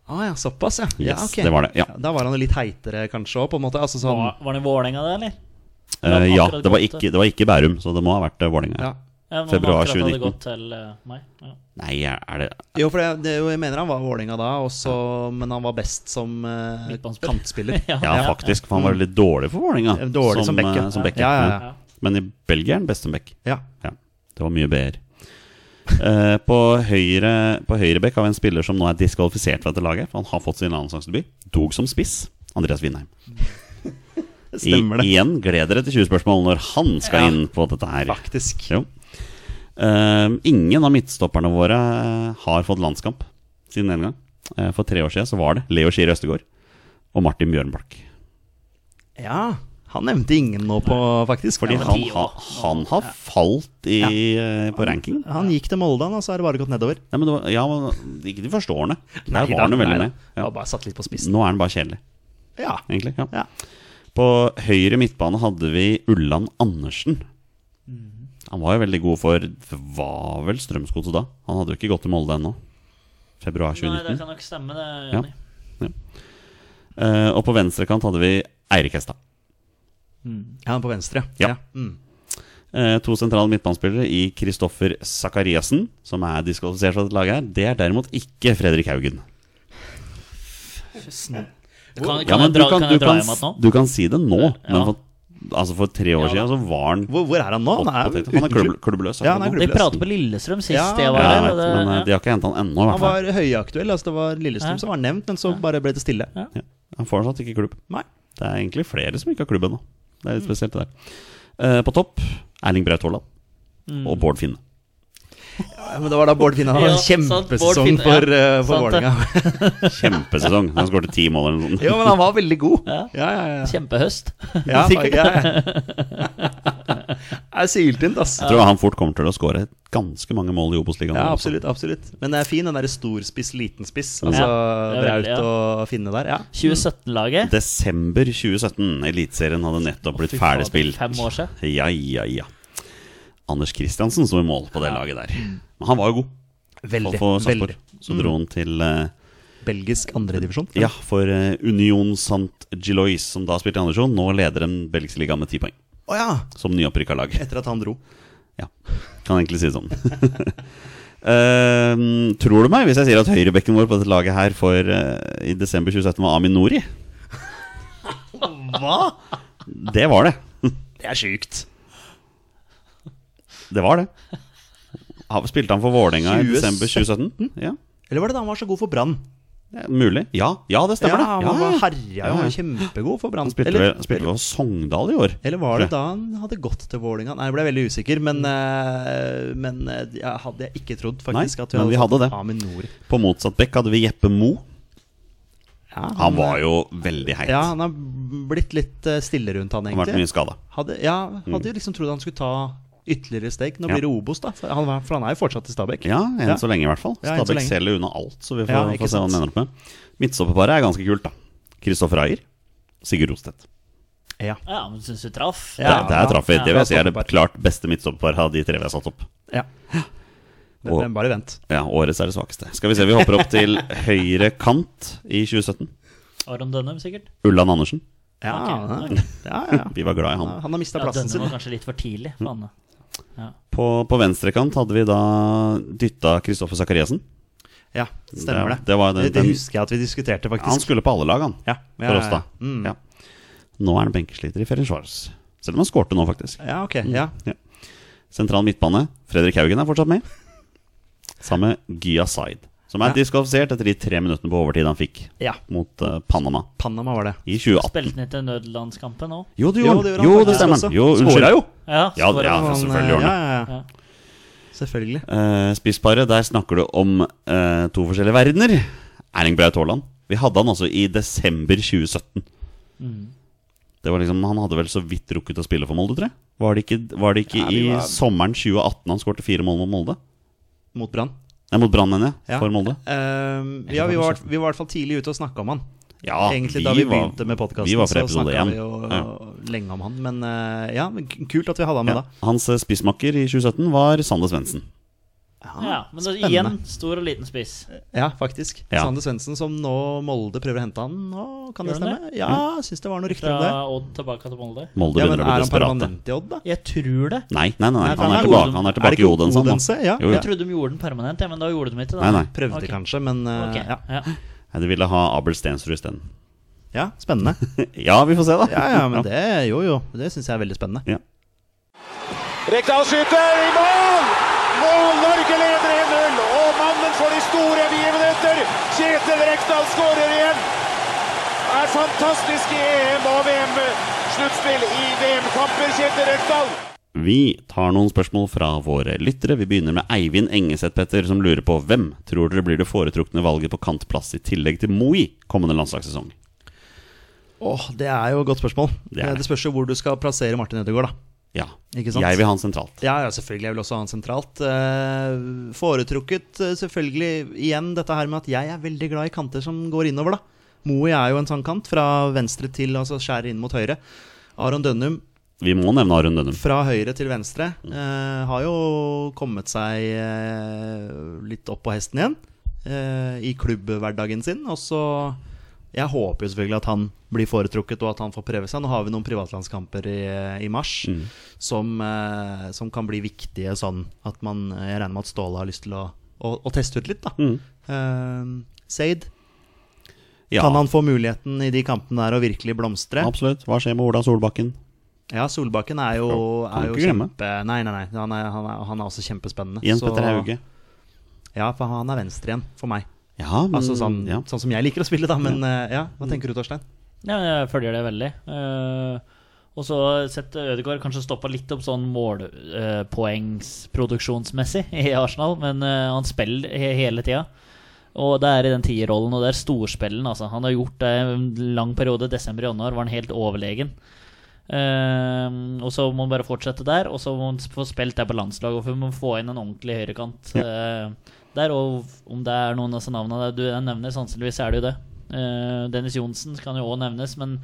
Ah, ja, såpass, ja. ja Yes, ok. det var det, ja. Da var han jo litt heitere, kanskje, òg, på en måte. Altså sånn Var, var det Vålerenga, det, eller? Eh, Men han ja, akkurat det var, gått ikke, det var ikke Bærum, så det må ha vært eh, Vålerenga. ja. Ja, men Februar akkurat 2019. hadde gått til eh, meg. Ja. Nei, er det Jo, for det, det, er jo- jeg mener han var Vålerenga da, og så- men han var best som eh, Midtbanespiller. kantspiller. Ja. Ja, faktisk. For han var litt dårlig for Vålerenga. Mm. Dårlig som bekke. eh, Som bekke. Ja, ja, ja. Ja. Men i Belgia er han best som bekk. Ja. Ja, det var mye BR. Eh, på høyre På høyrebekk har vi en spiller som nå er diskvalifisert fra dette laget. For han har fått sin landslagsdebut. Dog som spiss. Andreas Vindheim. I, Stemmer det. igjen, gled dere til 20 spørsmål når han skal Ja. inn på dette her. Faktisk. Jo. Eh, ingen av midtstopperne våre har fått landskamp siden den gang. Eh, for tre år siden så var det Leo Skier Østegård og Martin Bjørnbakk. Ja. Han nevnte ingen nå, på, faktisk. Fordi ja, men han, ti år. har- han har falt i, eh, på ranking. han gikk til Molde, han, og så har det bare gått nedover. Nei, men det var, ja, men ikke de første årene. Der Nei da, var han jo veldig nei da. med. Ja. Han bare satt litt på spissen. Nå er han bare kjedelig, Ja. egentlig. Ja. Ja. På høyre midtbane hadde vi Ulland Andersen. Mhm. Han var jo veldig god for det var vel Strømsgodset da. Han hadde jo ikke gått til Molde ennå. Februar Nei, 2019. det kan nok stemme, det. Ja. Jonny. Eh, og på venstrekant hadde vi Eirik Hestad. Ja, han på venstre. Ja. Mm. Eh, to sentrale midtbanespillere i Kristoffer Sakariassen, som er diskvalifisert fra dette laget her. Det er derimot ikke Fredrik Haugen. Kan, kan Ja, men jeg du dra, kan, kan du, jeg dra kan, hjem s- igjen nå? du kan si det nå, Ja. men for, altså for tre år Ja da. siden så var han Hvor, hvor er han nå? Han Han er, er, han er klubb, klubb- klubbløs. Ja, han er akkurat nå. De klubbløs. pratet på Lillestrøm sist Ja, jeg var Ja, jeg der. vet, og det- men eh, de har ikke henta han ennå, i han hvert fall. var høyaktuell. Altså, det var Lillestrøm Ja. som var nevnt, men så bare ble det stille. Ja. Ja, han får fortsatt ikke klubb. Nei. Det er egentlig flere som ikke har klubb ennå. Det er litt spesielt, det der. Eh, på topp Erling Braut Haaland Mm. og Bård Finne. Ja, men det var da Bård Finne hadde Ja, en sant, Bård kjempesesong Finne, for, ja, eh, for sant det. Vålerenga. Kjempesesong. Han skåret ti mål eller noe sånt. Jo, men han var veldig god. Ja. Ja, ja, ja. Kjempehøst. ja, ja, Det er syltynt, ass. Jeg tror han fort kommer til å skåre ganske mange mål i Obos-ligaen. Ja, nå også. absolutt. absolutt Men det er fin, den derre storspiss, liten spiss. Altså Ja, det er Braut veldig, ja. og Finne der. Ja. 2017-laget. Desember 2017. Eliteserien hadde nettopp blitt fy faen, ferdig spilt. fem år siden. Ja, ja, ja. Anders Kristiansen sto i mål på det laget der. Men han var jo god Veldig. for veldig Sarpsborg. Så Mm. dro han til eh, Belgisk andredivisjon. Ja, for eh, Union Sant Gilois, som da spilte i andre divisjon, nå leder den belgiske ligaen med ti poeng. Å ja! Som nyopprykka lag. Etter at han dro. Ja, kan egentlig si det sånn. Eh, tror du meg hvis jeg sier at høyrebekken vår på dette laget her for eh, i desember 2017 var Amin Nori? Hva?! Det var det. Det er sjukt. Det var det. Ha- Spilte han for Vålerenga i 2017? desember 2017? Ja, Eller var det da han var så god for Brann? det er mulig. Ja, ja det Ja, stemmer det. han Ja, var ja. herja jo. Han var kjempegod for Brann. Han spilte Eller, vel- spilte vel for Sogndal i år. eller var det da han hadde gått til Vålinga? Nei, jeg ble veldig usikker, men, eh, men eh, jeg hadde jeg ikke trodd, faktisk. Mm. Nei, at vi men vi hadde hadde satt det. Amin Nouri. På motsatt bekk hadde vi Jeppe Mo. Ja, Han var jo veldig heit. Ja, Han han har blitt litt eh, stille rundt han, har vært egentlig. mye skada. Hadde, ja, hadde jo liksom trodd han skulle ta ytterligere steg. Nå Mm. Ja. blir det Obos, da. For han, var- for han er jo fortsatt i Stabæk. Ja, enn Ja. så lenge i hvert fall. Ja, enn så Stabæk lenge. selger unna alt, så vi får, Ja, ikke får se hva han sant. ender opp med. Midtstopperparet er ganske kult, da. Kristoffer Ayer, Sigurd Rostedt. Ja. Ja, men syns du traff? Ja. der, der traff vi. ja. Det vil jeg si er det Bra stoppepar. klart beste midtstopperparet av de tre vi har satt opp. ja. Men- Og- men Bare vent. Ja, årets er det svakeste. Skal vi se, vi hopper opp til høyre kant i 2017. Aron Dønnum, sikkert. Ulland Andersen. Ja, Ok, ja, ja, ja. Vi var glad i han. Han har mista Ja, plassen Dønnum sin. Mm. var kanskje litt for tidlig. Faen. På, på venstre kant hadde vi da dytta Kristoffer Sakariassen. Ja, stemmer det. Det- det var den- det den- husker jeg at vi diskuterte, faktisk. Han skulle på alle lag, han. Ja, ja, For oss, ja, da. ja. Mm. Ja. Nå er han benkesliter i Ferencvaros. Selv om han skårte nå, faktisk. Ja, ok. Ja. Sentral midtbane. Fredrik Haugen er fortsatt med. Sammen med Gya Zaid, som er Ja. diskvalifisert etter de tre minuttene på overtid han fikk ja. mot eh, Panama Panama var det. i 2018. Spilte han ikke nødlandskampen òg? Jo, det Jo, gjorde det gjorde han. Jo, han det faktisk stemmer. også. han. Jo, unnskyld. Skåra jo! Ja, Ja, skåret ja. han. selvfølgelig gjorde ja, han ja, ja. Ja. Selvfølgelig. Eh, Spissparet, der snakker du om eh, to forskjellige verdener. Erling Braut Haaland. Vi hadde han altså i desember 2017. Mm. Det var liksom, Han hadde vel så vidt rukket å spille for Molde, tror jeg. Var det ikke, var det ikke Ja, vi i var- sommeren 2018 han skårte fire mål mot Molde? Mot Brann. Nei, mot Brann, mener jeg. Ja. For Molde. Ehm, ja, vi var, vi var i hvert fall tidlig ute og snakka om han. Ja, Egentlig vi da vi var- begynte med podkasten, Vi var fra så episode snakka én. vi jo Ja. lenge om han. Men eh, ja, men k- kult at vi hadde han med Ja. Hans eh, spissmakker i 2017 var Sander Svendsen. da. Ja, men da, spennende. igjen stor og liten spiss. Ja, faktisk. Ja. Sander Svendsen, som nå Molde prøver å hente han nå, kan det Gjør han stemme? Ja, syns det var noen rykter Fra om det. Odd tilbake til Molde. Mm. Molde Ja, men begynner Er å bli han desperate. permanent i Odd, da? Jeg tror det. Nei, nei, nei, nei. for Han, han er er tilbake, Odense. han Er er det tilbake i ikke Odense. han, da. Odense? Ja. Jo, jo. Jeg trodde de gjorde den permanent, ja, men da gjorde de ikke det. Nei, nei. Prøvde Ok. kanskje, men eh, Ok, ja. ja. Nei, De ville ha Abel Stensrud isteden. ja. Spennende. Ja, vi får se, da. Ja, ja, men det Jo, jo. Det syns jeg er veldig spennende. Ja. Rekdal skyter i mål! Mål! Norge leder 1-0. Og mannen for de store begivenheter, Kjetil Rekdal, skårer igjen. Det er fantastisk i EM- og VM-sluttspill i VM-kamper, Kjetil Rekdal. Vi tar noen spørsmål fra våre lyttere. Vi begynner med Eivind Engeseth Petter, som lurer på hvem tror dere blir det foretrukne valget på kantplass i tillegg til Moi kommende landslagssesong? Åh, Det er jo et godt spørmål. Det er Eh, det. det spørs jo hvor du skal plassere Martin Ødegaard, da. Ja, Ikke sant? jeg vil ha han sentralt. Ja, ja, selvfølgelig. Jeg vil også ha han sentralt. Eh, Foretrukket eh, selvfølgelig igjen dette her med at jeg er veldig glad i kanter som går innover, da. Moe er jo en sånn kant, fra venstre til altså skjærer inn mot høyre. Aron Dønnum Vi må nevne Aron Dønnum. fra høyre til venstre Mm. eh, har jo kommet seg eh, litt opp på hesten igjen eh, i klubbhverdagen sin. Og så Jeg håper jo selvfølgelig at han blir foretrukket og at han får prøve seg. Nå har vi noen privatlandskamper i, i mars Mm. som, eh, som kan bli viktige sånn at man Jeg regner med at Ståle har lyst til å, å, å teste ut litt, da. Mm. Eh, Seid, Ja, kan han få muligheten i de kampene der å virkelig blomstre? absolutt. Hva skjer med Ola Solbakken? Ja, Solbakken er jo, Kan er du jo ikke glemme? kjempe... Nei, nei, nei. Han er, han er, han er også kjempespennende. Jens Så- Petter Hauge? Ja, for han er venstre igjen, for meg. Ja, men, Altså sånn, Mm, ja. sånn som jeg liker å spille, da. Men eh, ja, hva tenker du, Torstein? Ja, jeg følger det veldig. Eh, og så setter Ødegaard kanskje stoppa litt opp sånn målpoengsproduksjonsmessig i Arsenal, men eh, han spiller he hele tida. Og det er i den tierrollen, og det er storspillen, altså. Han har gjort det en lang periode. Desember og januar var han helt overlegen. Eh, og så må han bare fortsette der, og så må han få spilt der på landslaget. Og så må han få inn en ordentlig høyrekant eh, der. Og om det er noen av disse navnene du nevner, sannsynligvis er det jo det. Eh, Dennis Johnsen kan jo òg nevnes, men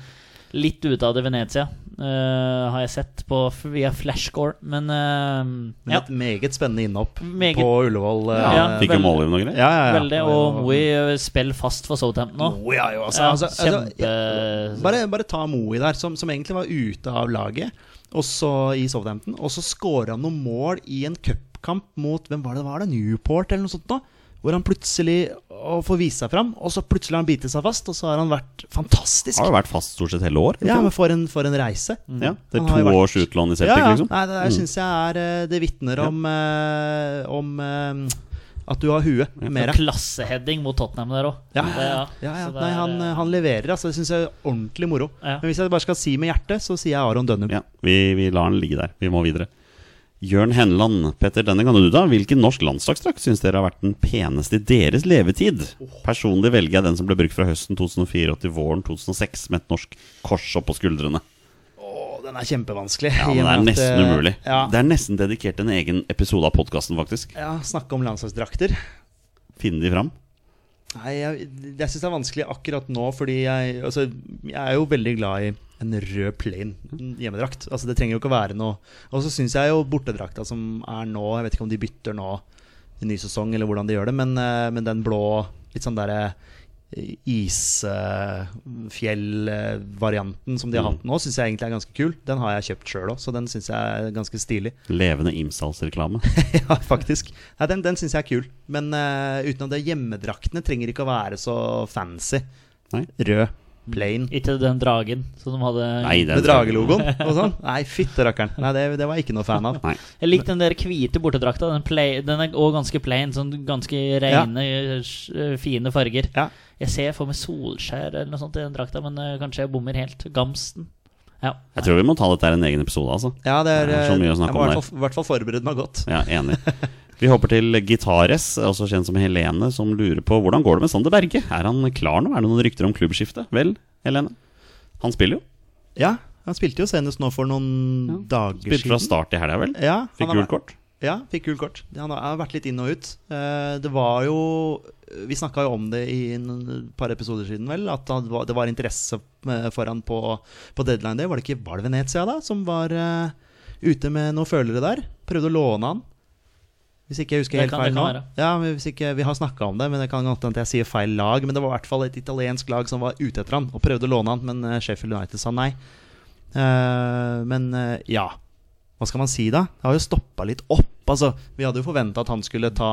litt ute av det Venezia eh, har jeg sett på f- via flashscore. Men eh, Men ja, Et meget spennende innhopp Meget. på Ullevål. eh, ja, Ja, Fikk jo vel- mål i noen greier. ja, ja, ja. veldig. Og Moey spiller fast for Southampton nå. Moe, ja, jo, altså, Ja, altså, altså, kjempe- bare, bare ta Moe der, som, som egentlig var ute av laget Og så i Southampton. Og så scorer han noen mål i en cupkamp mot hvem var det, var det Newport eller noe sånt. da Hvor han plutselig å, får vise seg fram, og så plutselig har han bitt seg fast, og så har han vært fantastisk. Har jo vært fast stort sett hele år. liksom. Ja, men for en, for en reise. Ja, det Han er har jo to vært- års utlån i Celtic, ja, ja. Mm. liksom. Nei, det der syns jeg er eh, Det vitner om, eh, om eh, at du har huet mer. Sånn Klasseheading mot Tottenham der òg. Ja, ja, ja. Nei, han, eh, han leverer, altså. Det syns jeg er ordentlig moro. Ja. Men hvis jeg bare skal si med hjertet, så sier jeg Aron Dønnum. Ja, vi, vi lar den ligge der. Vi må videre. Jørn Henland, Petter, denne kan du ta. Hvilken norsk landslagsdrakt syns dere har vært den peneste i deres levetid? Personlig velger jeg den som ble brukt fra høsten 2004 og til våren 2006, med et norsk kors oppå skuldrene. Å, den er kjempevanskelig. Ja, i men Det er og med at, nesten eh, umulig. Ja, Det er nesten dedikert en egen episode av podkasten, faktisk. ja snakke om landslagsdrakter. Finne de fram. Nei, jeg, jeg syns det er vanskelig akkurat nå, fordi jeg, altså, jeg er jo veldig glad i en rød plain hjemmedrakt. Altså, det trenger jo ikke å være noe Og så syns jeg jo bortedrakta som er nå Jeg vet ikke om de bytter nå i ny sesong, eller hvordan de gjør det, men, eh, men den blå, litt sånn derre eh, isfjell-varianten som de har hatt nå, syns jeg egentlig er ganske kul. Den har jeg kjøpt sjøl òg, så den syns jeg er ganske stilig. Levende Imsals-reklame. Ja, faktisk. Nei, den den syns jeg er kul. Men eh, utenom det, hjemmedraktene trenger ikke å være så fancy. Nei. Rød, plain, eh, Ikke den dragen som de hadde Nei, den med dragelogoen og sånn. Nei, fytte rakkeren. Nei, det, det var jeg ikke noe fan av. Nei. Jeg likte den der hvite bortedrakta. Den, play, den er òg ganske plain. Sånn ganske reine, eh, fine farger. Ja. Jeg ser for meg Solskjær eller noe sånt i den drakta, men eh, kanskje jeg bommer helt. Gamsten. Ja. Jeg tror vi må ta dette her i en egen episode, altså. Ja, det er, eh, Det er så mye å snakke jeg må om i hvert fall- i hvert fall forberede meg godt. Ja, enig. Vi hopper til Gitares, også kjent som Helene, som lurer på hvordan går det med Sander Berge. Er han klar nå? Er det noen rykter om klubbskifte? Vel, Helene? Han spiller jo. Ja, han spilte jo senest nå for noen dager Spilte fra siden. start i helga, vel? Ja, han Fikk har vært- gult kort. Ja, fikk gult kort. Han har- har vært litt inn og ut. Eh, Det var jo Vi snakka jo om det i en- et par episoder siden, vel. At han var- det var interesse eh, for han på, på deadline day. Var det ikke var det Venezia da som var eh, ute med noen følere der? Prøvde å låne han. Hvis ikke jeg husker Det helt kan- feil det kan nå. være. Ja, men hvis ikke, Vi har snakka om det, men det kan godt hende at jeg sier feil lag. Men det var i hvert fall et italiensk lag som var ute etter han og prøvde å låne han, men eh, Sheffield United sa nei. Eh, Men eh, ja hva skal man si da? Det har jo stoppa litt opp. Altså, vi hadde jo forventa at han skulle ta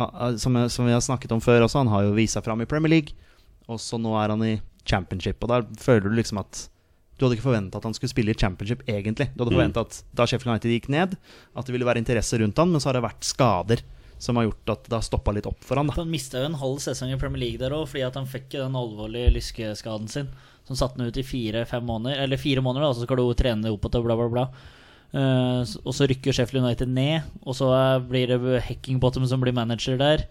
ah, ah, som, som vi har snakket om før også, han har jo vist seg fram i Premier League. Og så nå er han i championship, og der føler du liksom at du hadde ikke forventa at han skulle spille i championship, egentlig. Du hadde Mm. forventa at da Sheffield United gikk ned, at det ville være interesse rundt han, men så har det vært skader som har gjort at det har stoppa litt opp for han, da. Han mista jo en halv sesong i Premier League der òg, fordi at han fikk jo den alvorlige lyskeskaden sin. Som satte han ut i fire-fem måneder. Eller fire måneder, da, så skal du jo trene deg opp igjen, bla, bla, bla. Eh, s- og så rykker Sheffield United ned, og så eh, blir det Heckingbottom som blir manager der.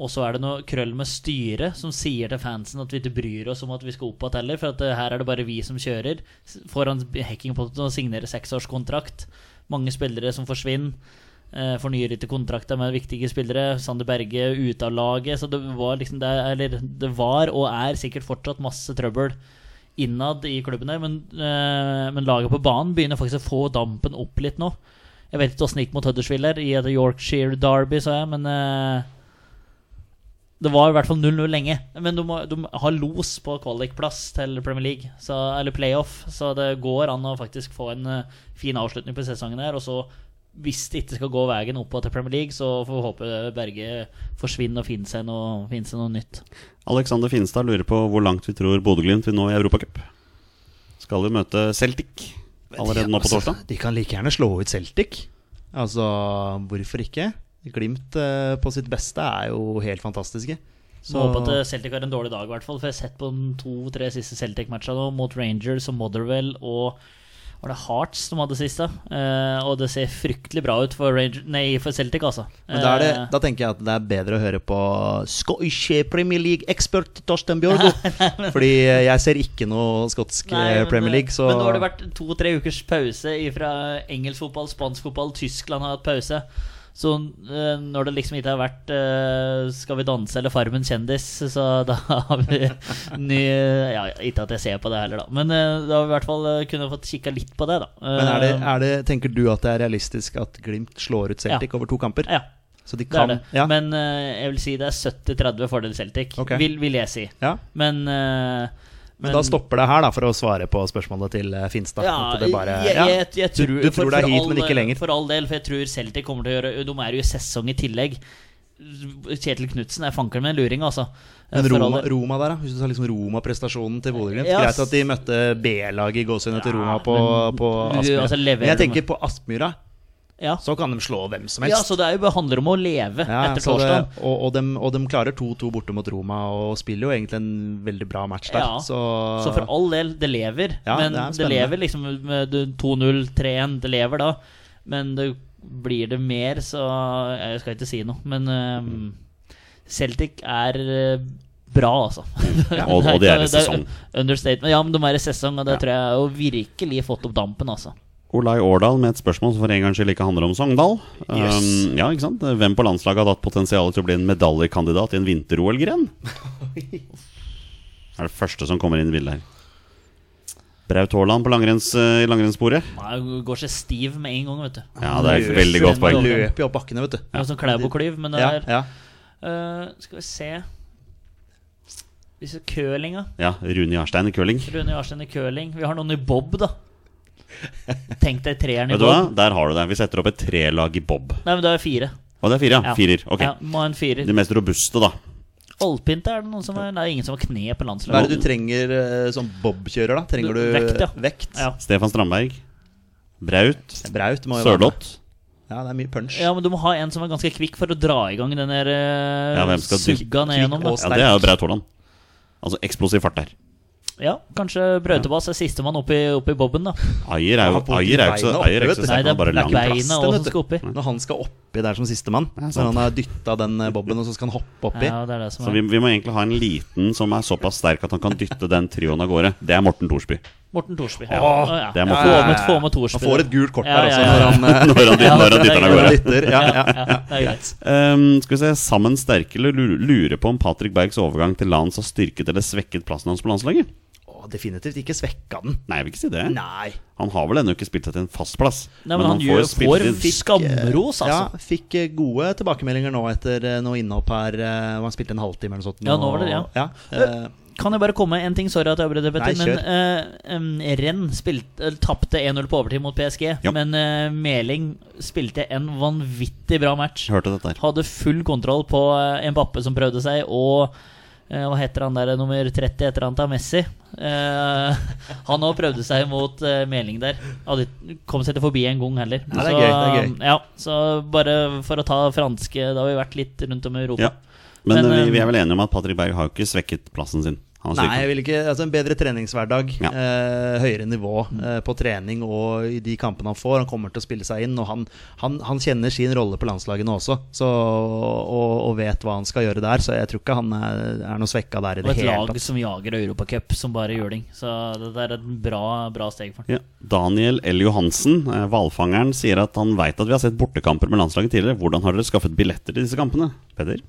Og så er det noe krøll med styret som sier til fansen at vi ikke bryr oss om at vi skal opp igjen heller, for at eh, her er det bare vi som kjører. S- Får han Heckingbottom til å signere seksårskontrakt. Mange spillere som forsvinner. Eh, fornyer ikke kontrakter med viktige spillere. Sander Berge ute av laget. Så det var liksom det, er- eller, det var og er sikkert fortsatt masse trøbbel innad i klubben der, men, eh, men laget på banen begynner faktisk å få dampen opp litt nå. Jeg vet ikke åssen det gikk mot Huddersfield her, i et Yorkshire Derby, sa jeg, men eh, det var i hvert fall 0-0 lenge. Men de, må, de har los på kvalikplass til Premier League, så, eller playoff, så det går an å faktisk få en eh, fin avslutning på sesongen her, og så hvis det ikke skal gå veien opp til Premier League, så får vi håpe Berge forsvinner og finner seg noe, finner seg noe nytt. Alexander Finstad lurer på hvor langt vi tror Bodø-Glimt vil nå i Europacup. Skal jo møte Celtic allerede nå på Altså, torsdag. De kan like gjerne slå ut Celtic. Altså, hvorfor ikke? Glimt eh, på sitt beste er jo helt fantastiske. Så håper at eh, Celtic har en dårlig dag, i hvert fall. For jeg har sett på de to-tre siste Celtic-matchene nå, mot Rangers og Motherwell og var det Hearts de hadde sist, da? Eh, og det ser fryktelig bra ut for, Ranger, nei, for Celtic, altså. Men da, er det, Eh, da tenker jeg at det er bedre å høre på Scottish Premier League-ekspert Torsten Bjørgo. Fordi eh, jeg ser ikke noe skotsk Nei, eh, men, Premier League, så Men nå har det vært to-tre ukers pause fra engelsk fotball, spansk fotball, Tyskland har hatt pause. Så eh, når det liksom ikke har vært eh, 'Skal vi danse' eller 'Farmen kjendis', så da har vi ny Ja, ikke at jeg ser på det heller, da, men eh, da har vi i hvert fall eh, kunne fått kikka litt på det, da. Men er det, Eh, er det, tenker du at det er realistisk at Glimt slår ut Celtic Ja. over to kamper? Ja, Så de det er kan det. Ja. Men eh, jeg vil si det er 70-30 fordel Celtic, Ok. vil, vil jeg si. ja. Men eh, Men, da stopper det her, da, for å svare på spørsmålet til eh, Finstad. ja, At det bare- jeg, ja. jeg, jeg tror, du, du tror det er hit, men ikke lenger. For all del, for jeg tror Celtic kommer til å gjøre De er jo i sesong i tillegg. Kjetil Knutsen er fanken med en luring, altså. Men For all Roma, del. Roma der, da? Hvis du tar liksom Roma-prestasjonen til Bodø-Glimt Ja, Greit at de møtte B-laget i gåsehudene til Ja, Roma på, men på du- Aspmyra. altså, leverer men jeg de- tenker på Aspmyra, ja. så kan de slå hvem som helst. ja, så det er jo, det handler om å leve Ja, etter så det, torsdag. og, og, dem, og dem klarer 2-2 borte mot Roma og spiller jo egentlig en veldig bra match der. Ja, Så, Så for all del, det lever. Ja, men det er det, spennende. lever liksom med du- 2-0, 3-1, det lever da. Men det blir det mer, så jeg skal ikke si noe. Men øhm, Celtic er øh, bra, altså. og- og de er i Det sesong. Understatement. Ja, men de er i sesong, og det tror jeg har jo virkelig fått opp dampen, altså. Olai Årdal med et spørsmål som for en gangs skyld ikke handler om Sogndal. Yes. Um, ja, ikke sant? Hvem på landslaget hadde hatt potensial til å bli en medaljekandidat i en vinter-OL-gren? Det er det første som kommer inn i bildet her. Braut Haaland på langrenns, eh, i langrennssporet. Man går seg stiv med en gang, vet du. Ja, det er et veldig godt poeng. Løp. Løper jo opp bakkene, vet du. Det er sånn Klæbo-klyv, men det Ja, er ja. øh, Skal vi se Hvis curlinga Ja, Rune Jarstein i curling. Rune Jarstein i curling. Vi har noen i bob, da. Tenk deg treeren i Vet du hva? bob. Der har du det. Vi setter opp et trelag i bob. Nei, men det er fire. Og det er fire, ja. Ja. Firer. Ok. Ja, må ha en firer. De mest robuste, da. Oldpint er det noen som er Det er ingen som har kne på Hva er det landslaget. du trenger eh, som bobkjører, da? Trenger du Vekt, ja. vekt? Ja. Stefan Strandberg. Braut. Braut må jo være med. Sørloth. Ja, det er mye punch. ja, men du må ha en som er ganske kvikk for å dra i gang den der eh, Ja, hvem skal sugga ned gjennom. og Da. Ja, det er jo Braut Haaland. Altså eksplosiv fart der. Ja, kanskje Brautebass er sistemann opp, i- opp i boben, da. Ayer er Han jo har politiet Ayer er jo ikke beina så oppe, Ayer er vet ikke så du. Nei, sterk, han det er bare lang. Black Plass Beinet til, også vet som du. skal oppi. Når han skal oppi der som sistemann, er når sant. han har dytta den eh, bobben, og så skal han hoppe oppi Ja, det er det som Så vi, er. vi må egentlig ha en liten som er såpass sterk at han kan dytte den trioen av gårde. Det er Morten Thorsby. Morten Thorsby. Ja, Å, det er Morten. Få med, få med Thorsby. Han får et gult kort Ja, her også, ja, ja. når han, eh, Når han, dytter- når han dytter den av Ja, gårde. det dytter. Ja, ja. ja, det er greit. Ehm, skal vi se, Sammen sterke lu- lu- lurer på om Patrick Bergs overgang til lands har styrket eller svekket plassen hans på landslaget? Å, definitivt ikke svekka den. Nei, jeg vil ikke si det. Nei. Han har vel ennå ikke spilt seg til en fast plass. Nei, men, han, gjør, får spilletid. skamros, altså. Ja, fikk eh, gode tilbakemeldinger nå etter eh, noe innhopp her. eh, hvor Han spilte en halvtime eller noe sånt. Ja, nå var det det, ja. eh, Kan jeg bare komme med en ting? Sorry at jeg avbrøt, deg, Petter. Nei, Men eh, em, Renn spilte- eller tapte 1-0 på overtid mot PSG. Ja. Men eh, Meling spilte en vanvittig bra match. Hørte dette her. Hadde full kontroll på eh, en bappe som prøvde seg, og eh, hva heter han der, nummer 30 etter han tar Messi? Eh, han òg prøvde seg mot eh, Meling der. Hadde, ikke- kom seg ikke forbi en gang heller. Nei, det er gøy, det er Ja, så bare for å ta franske Da har vi vært litt rundt om i Europa. Ja. Men, Men, eh, vi, ehm, vi er vel enige om at Patrick Berg har jo ikke svekket plassen sin. Han har Nei, jeg styrket. vil ikke Altså en bedre treningshverdag. Ja. Mm. Eh, høyere nivå eh, på trening og i de kampene han får. Han kommer til å spille seg inn, og han, han, han kjenner sin rolle på landslaget nå også. Så, og, og vet hva han skal gjøre der, så jeg tror ikke han er, er noe svekka der i Og det et hele lag tatt. som jager Europacup som bare juling. Så det der er et bra, bra steg for ham. Ja. Daniel L. Johansen, eh, hvalfangeren, sier at han veit at vi har sett bortekamper med landslaget tidligere. Hvordan har dere skaffet billetter til disse kampene? Peder?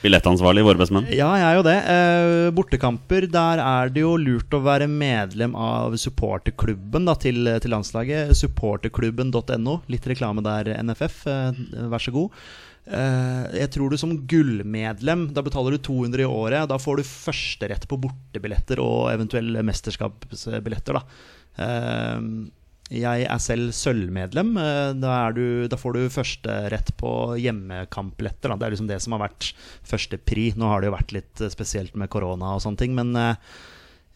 Billettansvarlig i Våre bestemenn. Ja, jeg er jo det. Eh, bortekamper, der er det jo lurt å være medlem av supporterklubben da, til, til landslaget. Supporterklubben.no. Litt reklame der, NFF. Eh, vær så god. Eh, jeg tror du som gullmedlem, da betaler du 200 i året. Da får du førsterett på bortebilletter og eventuelle mesterskapsbilletter, da. Eh, jeg er selv sølvmedlem. Eh, Da, er du, da får du førsterett på hjemmekampbilletter. da. Det er liksom det som har vært førstepri. Nå har det jo vært litt eh, spesielt med korona og sånne ting, men eh,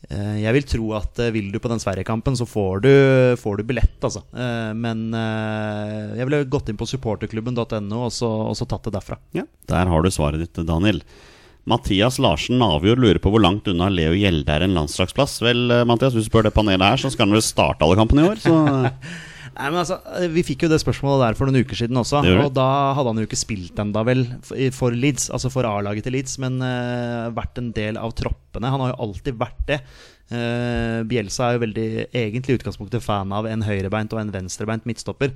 eh, jeg vil tro at eh, vil du på den Sverige-kampen, så får du, får du billett, altså. Eh, Men eh, jeg ville gått inn på supporterklubben.no og, så- og så tatt det derfra. Ja, der har du svaret ditt, Daniel. Mathias Larsen Navjord lurer på hvor langt unna Leo Gjelde er en landslagsplass. Vel, eh, Mathias, hvis du spør det panelet her, så skal han vel starte alle kampene i år. Så eh, Nei, men altså, Vi fikk jo det spørsmålet der for noen uker siden også. Det gjorde vi. Og da hadde han jo ikke spilt ennå, vel, for- i- for Leeds, altså for A-laget til Leeds, men eh, vært en del av troppene. Han har jo alltid vært det. Eh, Bjelsa er jo veldig egentlig i utgangspunktet fan av en høyrebeint og en venstrebeint midtstopper.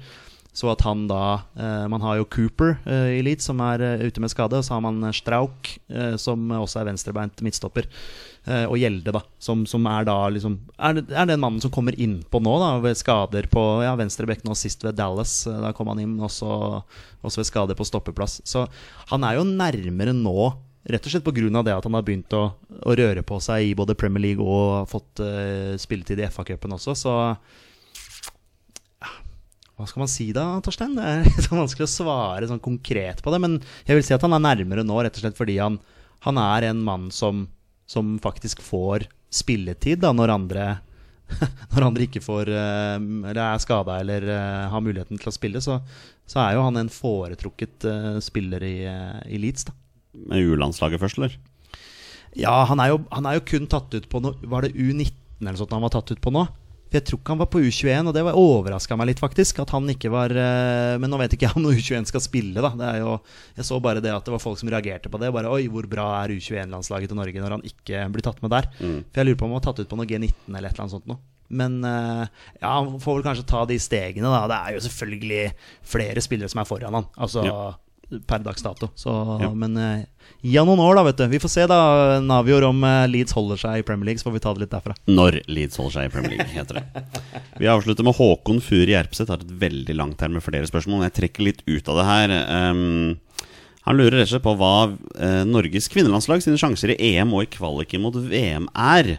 Så at han da eh, Man har jo Cooper eh, i Leeds, som er eh, ute med skade. Og så har man Strauk, eh, som også er venstrebeint midtstopper. Eh, og Gjelde, da, som, som er da liksom er, det- er den mannen som kommer innpå nå, da, ved skader på ja, venstrebekk nå sist ved Dallas. eh, Da kom han inn, også, også ved skader på stoppeplass. Så han er jo nærmere nå, rett og slett pga. det at han har begynt å, å røre på seg i både Premier League og har fått eh, spilletid i FA-cupen også, så hva skal man si da, Torstein? Det er litt sånn vanskelig å svare sånn konkret på det. Men jeg vil si at han er nærmere nå, rett og slett fordi han, han er en mann som, som faktisk får spilletid da, når andre når andre ikke får eh, Eller er skada eller eh, har muligheten til å spille, så, så er jo han en foretrukket eh, spiller i, eh, i Leeds, da. Med U-landslaget først, eller? Ja, han er jo, han er jo kun tatt ut på noe Var det U19 eller sånt han var tatt ut på nå? For jeg tror ikke han var på U21, og det overraska meg litt, faktisk. At han ikke var eh, Men nå vet ikke jeg om U21 skal spille, da. Det er jo, jeg så bare det at det var folk som reagerte på det. Bare Oi, hvor bra er U21-landslaget til Norge når han ikke blir tatt med der? Mm. For jeg lurer på om han var tatt ut på noe G19 eller et eller annet sånt noe. Men eh, ja, han får vel kanskje ta de stegene, da. Det er jo selvfølgelig flere spillere som er foran han. Altså Ja. per dags dato. Så, Ja. Men eh, gi han noen år, da, vet du. Vi får se, da, Navior, om eh, Leeds holder seg i Premier League. Så får vi ta det litt derfra. Når Leeds holder seg i Premier League, heter det. Vi avslutter med Håkon Furi Gjerpseth. Har et veldig langt her med flere spørsmål, men jeg trekker litt ut av det her. Ehm, han lurer rett og slett på hva eh, Norges kvinnelandslag sine sjanser i EM og i kvaliken mot VM er.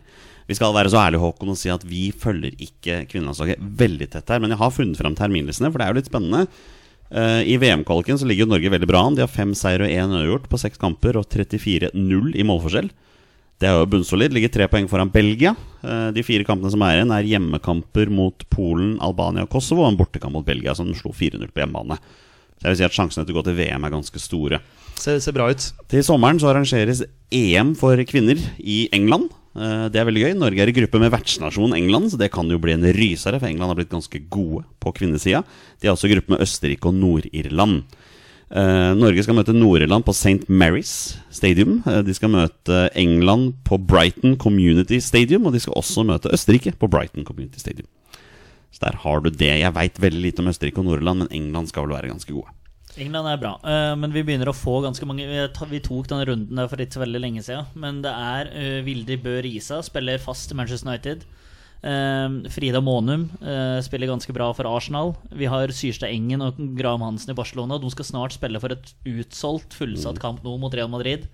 Vi skal være så ærlige Håkon, og si at vi følger ikke kvinnelandslaget veldig tett her. Men jeg har funnet fram terminlistene, for det er jo litt spennende. Eh, I VM-kvaliken så ligger jo Norge veldig bra an. De har fem seier og én uavgjort på seks kamper og 34-0 i målforskjell. Det er jo bunnsolid. Ligger tre poeng foran Belgia. Eh, De fire kampene som er igjen, er hjemmekamper mot Polen, Albania og Kosovo og en bortekamp mot Belgia, som slo 4-0 på hjemmebane. Så jeg vil si at Sjansene til å gå til VM er ganske store. Ser, ser bra ut. Til sommeren så arrangeres EM for kvinner i England. Eh, Det er veldig gøy. Norge er i gruppe med vertsnasjonen England, så det kan jo bli en rysere, for England har blitt ganske gode på kvinnesida. De er også i gruppe med Østerrike og Nord-Irland. Eh, Norge skal møte Nord-Irland på St. Mary's Stadium. Eh, de skal møte England på Brighton Community Stadium. Og de skal også møte Østerrike på Brighton Community Stadium. Så der har du det. Jeg veit veldig lite om Østerrike og Nord-Irland, men England skal vel være ganske gode. England er bra, eh, men vi begynner å få ganske mange Vi ta- vi tok den runden der for ikke så veldig lenge siden. Men det er eh, Vilde Bø Risa, spiller fast i Manchester United. Eh, Frida Månum eh, spiller ganske bra for Arsenal. Vi har Syrstad Engen og Graham Hansen i Barcelona. De skal snart spille for et utsolgt, fullsatt kamp nå mot Real Madrid.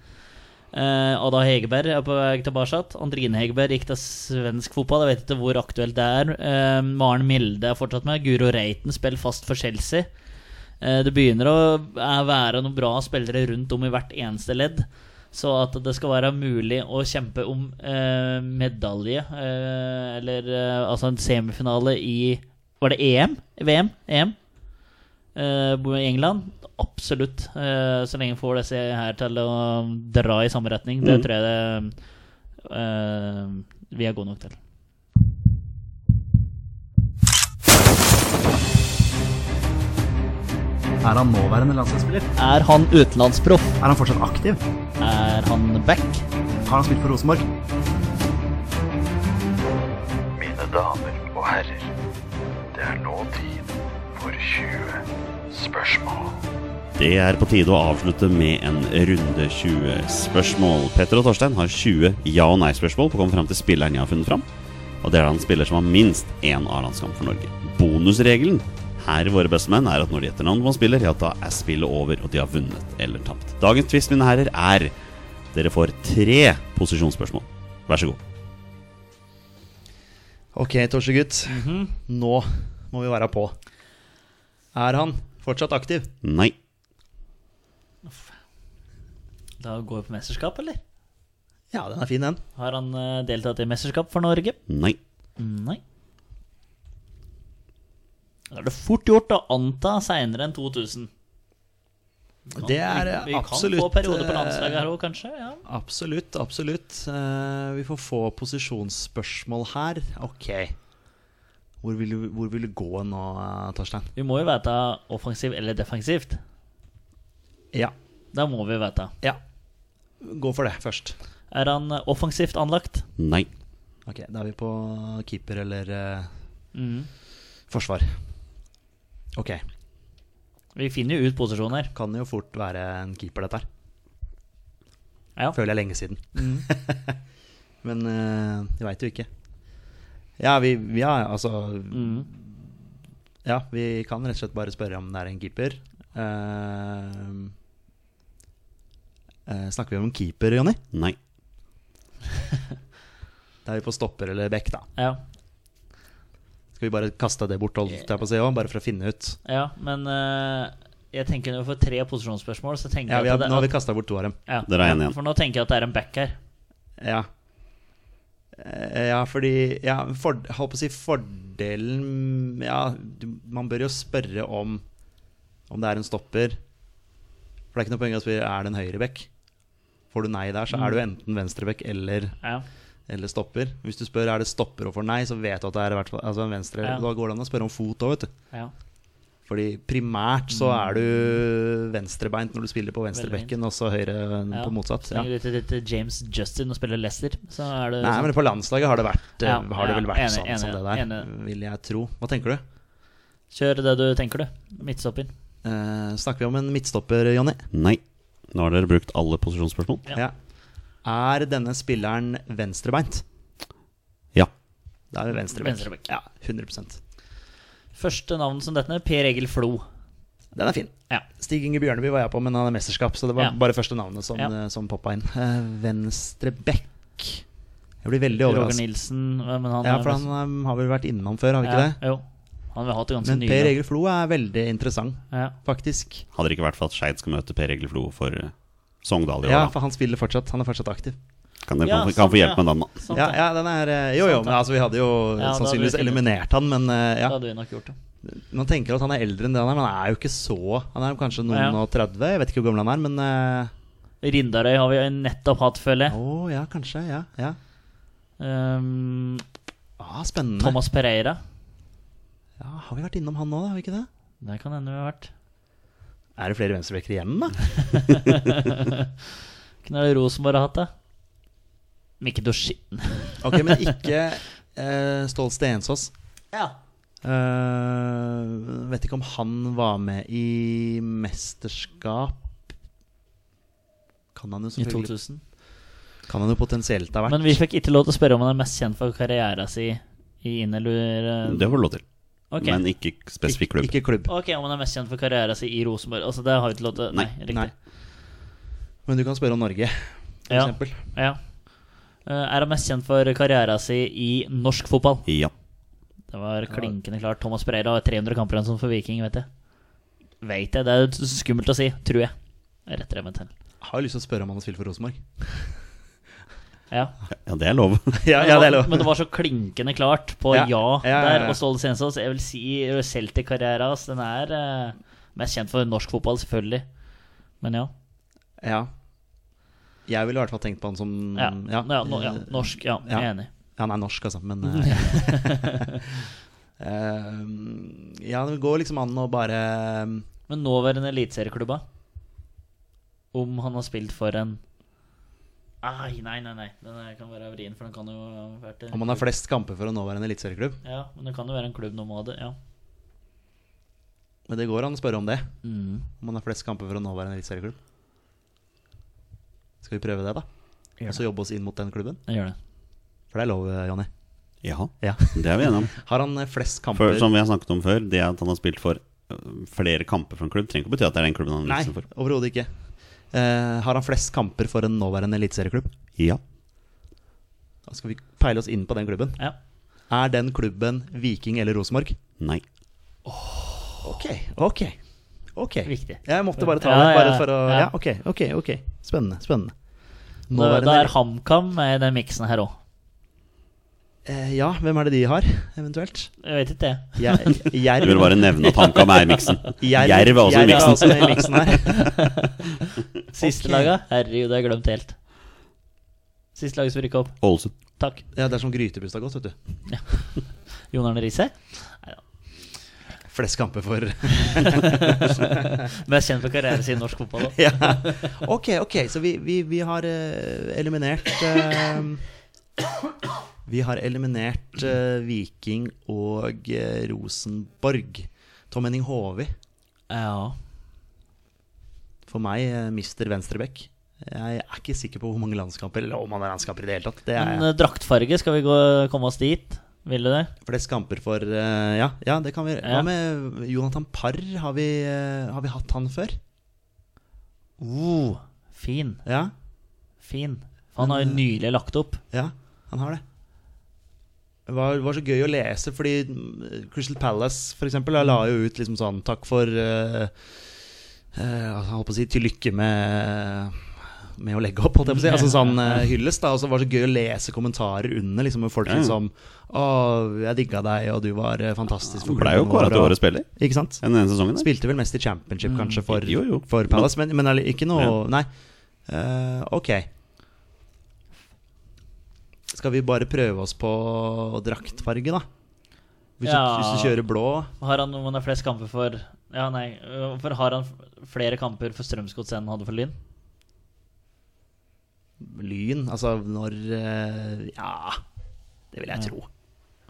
Eh, Ada Hegerberg er på vei tilbake. Andrine Hegerberg gikk til svensk fotball. Jeg vet ikke hvor aktuelt det er. Eh, Maren Milde er fortsatt med. Guro Reiten spiller fast for Chelsea. Eh, Det begynner å eh, være noen bra spillere rundt om i hvert eneste ledd. Så at det skal være mulig å kjempe om eh, medalje, eh, eller eh, altså en semifinale i Var det EM? VM? EM? Eh, bo i England? Absolutt. Eh, så lenge får disse her til å dra i samme retning. Det tror jeg det, eh, vi er gode nok til. Er han nåværende landslagsspiller? Er han utenlandsproff? Er han fortsatt aktiv? Er han back? Har han spilt for Rosenborg? Mine damer og herrer, det er nå tid for 20 spørsmål. Det er på tide å avslutte med en runde 20 spørsmål. Petter og Torstein har 20 ja- og nei-spørsmål på å komme fram til spilleren jeg har funnet fram. Og det er da en spiller som har minst én A-landskamp for Norge. Bonusregelen her i Våre beste menn er at når de gjetter navnet på en spiller, ja, da er spillet over, og de har vunnet eller tapt. Dagens twist, mine herrer, er dere får tre posisjonsspørsmål. Vær så god. Ok, Torsegutt. Mhm. Nå må vi være på. Er han fortsatt aktiv? Nei. Da går vi på mesterskap, eller? Ja, den er fin, den. Har han eh, deltatt i mesterskap for Norge? Nei. Nei. Da er det fort gjort å anta seinere enn 2000. Kan- Det er eh, vi, vi absolutt kan få perioder på eh, landslaget her òg, kanskje. Ja. Absolutt, absolutt. Eh, vi får få posisjonsspørsmål her. Ok. Hvor vil, du- hvor vil du gå nå, eh, Torstein? Vi må jo vite offensiv eller defensivt. Ja. Da må vi vite. ja. Gå for det først. Er han eh, offensivt anlagt? Nei. Ok, Da er vi på keeper eller eh, Mhm. forsvar. Ok. Vi finner jo ut posisjoner. Kan jo fort være en keeper, dette her. Ja. Føler jeg lenge siden. Men eh, jeg veit jo ikke. Ja, vi Ja, altså Mhm. Ja, vi kan rett og slett bare spørre om det er en keeper. Eh, eh, snakker vi om en keeper, Jonny? Nei. Da er vi på stopper eller back, da. ja. Skal vi bare kaste det bort, holdt jeg på å si, også, bare for å finne ut? Ja, men eh, jeg tenker når vi får tre posisjonsspørsmål, så tenker Ja, vi jeg har, at det, Nå har vi kasta bort to av dem. ja, Dere er enige igjen. For nå tenker jeg at det er en back her. Ja. Eh, Ja, fordi ja, for, Holdt på å si fordelen Ja, du, man bør jo spørre om Om det er en stopper. For det er ikke noe poeng i å spørre er det en høyrebekk. Får du nei der, så er du Mm. enten venstrebekk eller, Ja. eller stopper. Hvis du spør er det stopper og får nei, så vet du at det er i hvert fall altså en venstre. Ja. Da går det an å spørre om fot òg, vet du. ja. Fordi primært så er du venstrebeint når du spiller på Mm. Veldig venstrebekken, og så høyre Mm, på motsatt. Så Ja. lenge du ikke heter James Justin og spiller Leicester, så er det sånn, Nei, men på landslaget har det, vært, Liksom. eh, Ja, har det vel ja, vært enig, sånn som enig, det der, enig. vil jeg tro. Hva tenker du? Kjør det du tenker, du. Midtstopper. Eh, snakker vi om en midtstopper, Jonny? Nei. Nå har dere brukt alle posisjonsspørsmål. Ja. Er denne spilleren venstrebeint? Ja. Da er vi Venstrebekk. venstrebeint. Ja, 100 Første navn som dette, Per Egil Flo. Den er fin. Ja. Stig Inge Bjørneby var jeg på, men han er mesterskap, så det var Ja. bare første navnet som, Ja. eh, som poppa inn. Eh, venstreback Jeg blir veldig Roger overrasket. Nilsen. eh, Men han Ja, er for han mest- eh, har vel vært innom før, har vi ikke ja, Jo. Han har hatt det det? ganske Men nylig. Per Egil Flo er veldig interessant, Ja. faktisk. Hadde det ikke vært for at Skeid skal møte Per Egil Flo for eh, Sogndal i år, Ja, da. for han spiller fortsatt. Han er fortsatt aktiv. Kan dere Ja, kan, få- kan sant, få hjelp ja. med den, da. Sant, Ja, det. ja, den er eh, Jo, jo, Sant, men Sånn, ja. altså, vi hadde jo da hadde sannsynligvis vi funnet. eliminert han, men eh, Da ja. hadde vi nok gjort det. Man tenker at han er eldre enn det han er, men han er jo ikke så Han er jo kanskje noen Ja. og 30, jeg vet ikke hvor gammel han er, men eh, Rindarøy har vi nettopp hatt, føler Å jeg. ja, kanskje. Ja. ja. Um, Ah, spennende. Thomas Pereira. Ja, har vi vært innom han nå, da? Har vi ikke det? Det kan hende vi har vært. Er det flere venstrebacker igjen, da? Hvem er det Rosenborg har hatt, da? Mikkedosjin. Ok, men ikke eh, Stål Stensås. Ja. Eh, vet ikke om han var med i mesterskap Kan han jo I selvfølgelig 2000. Kan han jo potensielt ha vært. Men vi fikk ikke lov til å spørre om han er mest kjent for karrieren sin i inn eller eh, Det får du lov til. ok. Men ikke spesifikk klubb. Ikke, ikke klubb. ok, om han er mest kjent for karrieren sin i Rosenborg. Altså, det har vi ikke lov til. Nei, Nei. riktig. Nei. Men du kan spørre om Norge, for Ja. eksempel. Ja. Eh, er han mest kjent for karrieren sin i norsk fotball? Ja. Det var klinkende klart. Thomas Breira har 300 kamper igjen som for Viking, vet jeg. Vet jeg. Det er jo skummelt å si, tror jeg. Jeg retter det meg til. Jeg har jo lyst til å spørre om han har spilt for Rosenborg. Ja. ja, det er lov. ja, ja, det Men det er var, lov. men det var så klinkende klart på ja, Ja, ja, ja, ja. der. Og Ståle Stensås, jeg vil si Celtic-karrieren hans, den er eh, mest kjent for norsk fotball, selvfølgelig. Men ja. Ja. Jeg ville i hvert fall tenkt på han som Ja, ja, no, ja. Norsk, ja. Jeg er Mm, ja. enig. Han er norsk, altså, men eh, eh, Ja, det går liksom an å bare eh, Men nåværende eliteserieklubba, om han har spilt for en Ai, nei, nei, nei. Den her kan være vrien, for den kan jo ha vært Om han har flest kamper for å nå være en eliteserieklubb. Ja, men det kan jo være en klubb nå må ha det. Ja. Men det går an å spørre om det. Mm. Om han har flest kamper for å nå være en eliteserieklubb. Skal vi prøve det, da? Og så jobbe oss inn mot den klubben? Jeg gjør det. For det er lov, eh, Jonny. Ja, Ja. det er vi enige om. Har han eh, flest kamper For, som vi har snakket om før, det at han har spilt for øh, flere kamper for en klubb, trenger ikke å bety at det er den klubben han Nei, er liksom for. overhodet ikke. Eh, har han flest kamper for en nåværende eliteserieklubb? Ja. Da skal vi peile oss inn på den klubben. Ja. Er den klubben Viking eller Rosenborg? Nei. Ok, ok. ok Viktig. Jeg måtte bare ta Ja, det. ja, Bare for å, ja. ja, ok, ok, ok Spennende. spennende Da, Nåværende- da er HamKam med i den miksen her òg. Eh, Ja, hvem er det de har, eventuelt? Jeg vet ikke, jeg. Jer- Jeg vil Jerv bare nevne at HamKam er i miksen. Jerv er også i Jerv er miksen. også med i miksen her. Siste Ok. laga? Herregud, det har jeg glemt helt. Siste laget som rykka opp. Ålesund. Takk. Ja, Det er som grytebust har gått, vet du. Jon Arne Riise. Flest kamper for Mest kjent for karrieren sin i norsk fotball. da. ja. Ok, ok, så vi, vi, vi har eh, eliminert eh, Vi har eliminert eh, Viking og eh, Rosenborg. Tom Henning Håvi, Ja. for meg uh, mister venstreback. Jeg er ikke sikker på hvor mange landskamper, eller om han er landskamper i det hele tatt. Det er, Men eh, draktfarge, skal vi gå, komme oss dit? Vil du det? flest kamper for eh, ja, ja, det kan vi gjøre. Ja. Hva med Jonathan Parr? Har vi, eh, har vi hatt han før? Uh, fin. Ja, Fin. Han har jo Mm. nylig lagt opp. ja, han har det. Det var, var så gøy å lese, fordi mm, Crystal Palace for eksempel, la jo ut liksom sånn Takk for eh, eh, altså, Jeg holdt på å si til lykke med med å legge opp, holdt jeg på å si. Altså sånn eh, hyllest, da. Og så var det så gøy å lese kommentarer under, liksom med folk Ja. liksom Å, jeg digga deg, og du var eh, fantastisk Han ble jo kåra til og- årets spiller Ikke sant? den ene sesongen. Der. Spilte vel mest i championship, Mm. kanskje, for, Jo, jo. for Palace. Men, men er det ikke noe Nei. Eh, ok. Skal vi bare prøve oss på draktfarge, da? Hvis, Ja. du, hvis du kjører blå Har han om han har flest kamper for Ja, nei. øh, For har han f- flere kamper for Strømsgods enn han hadde for Lyn? lyn Altså når eh, Ja, det vil jeg tro.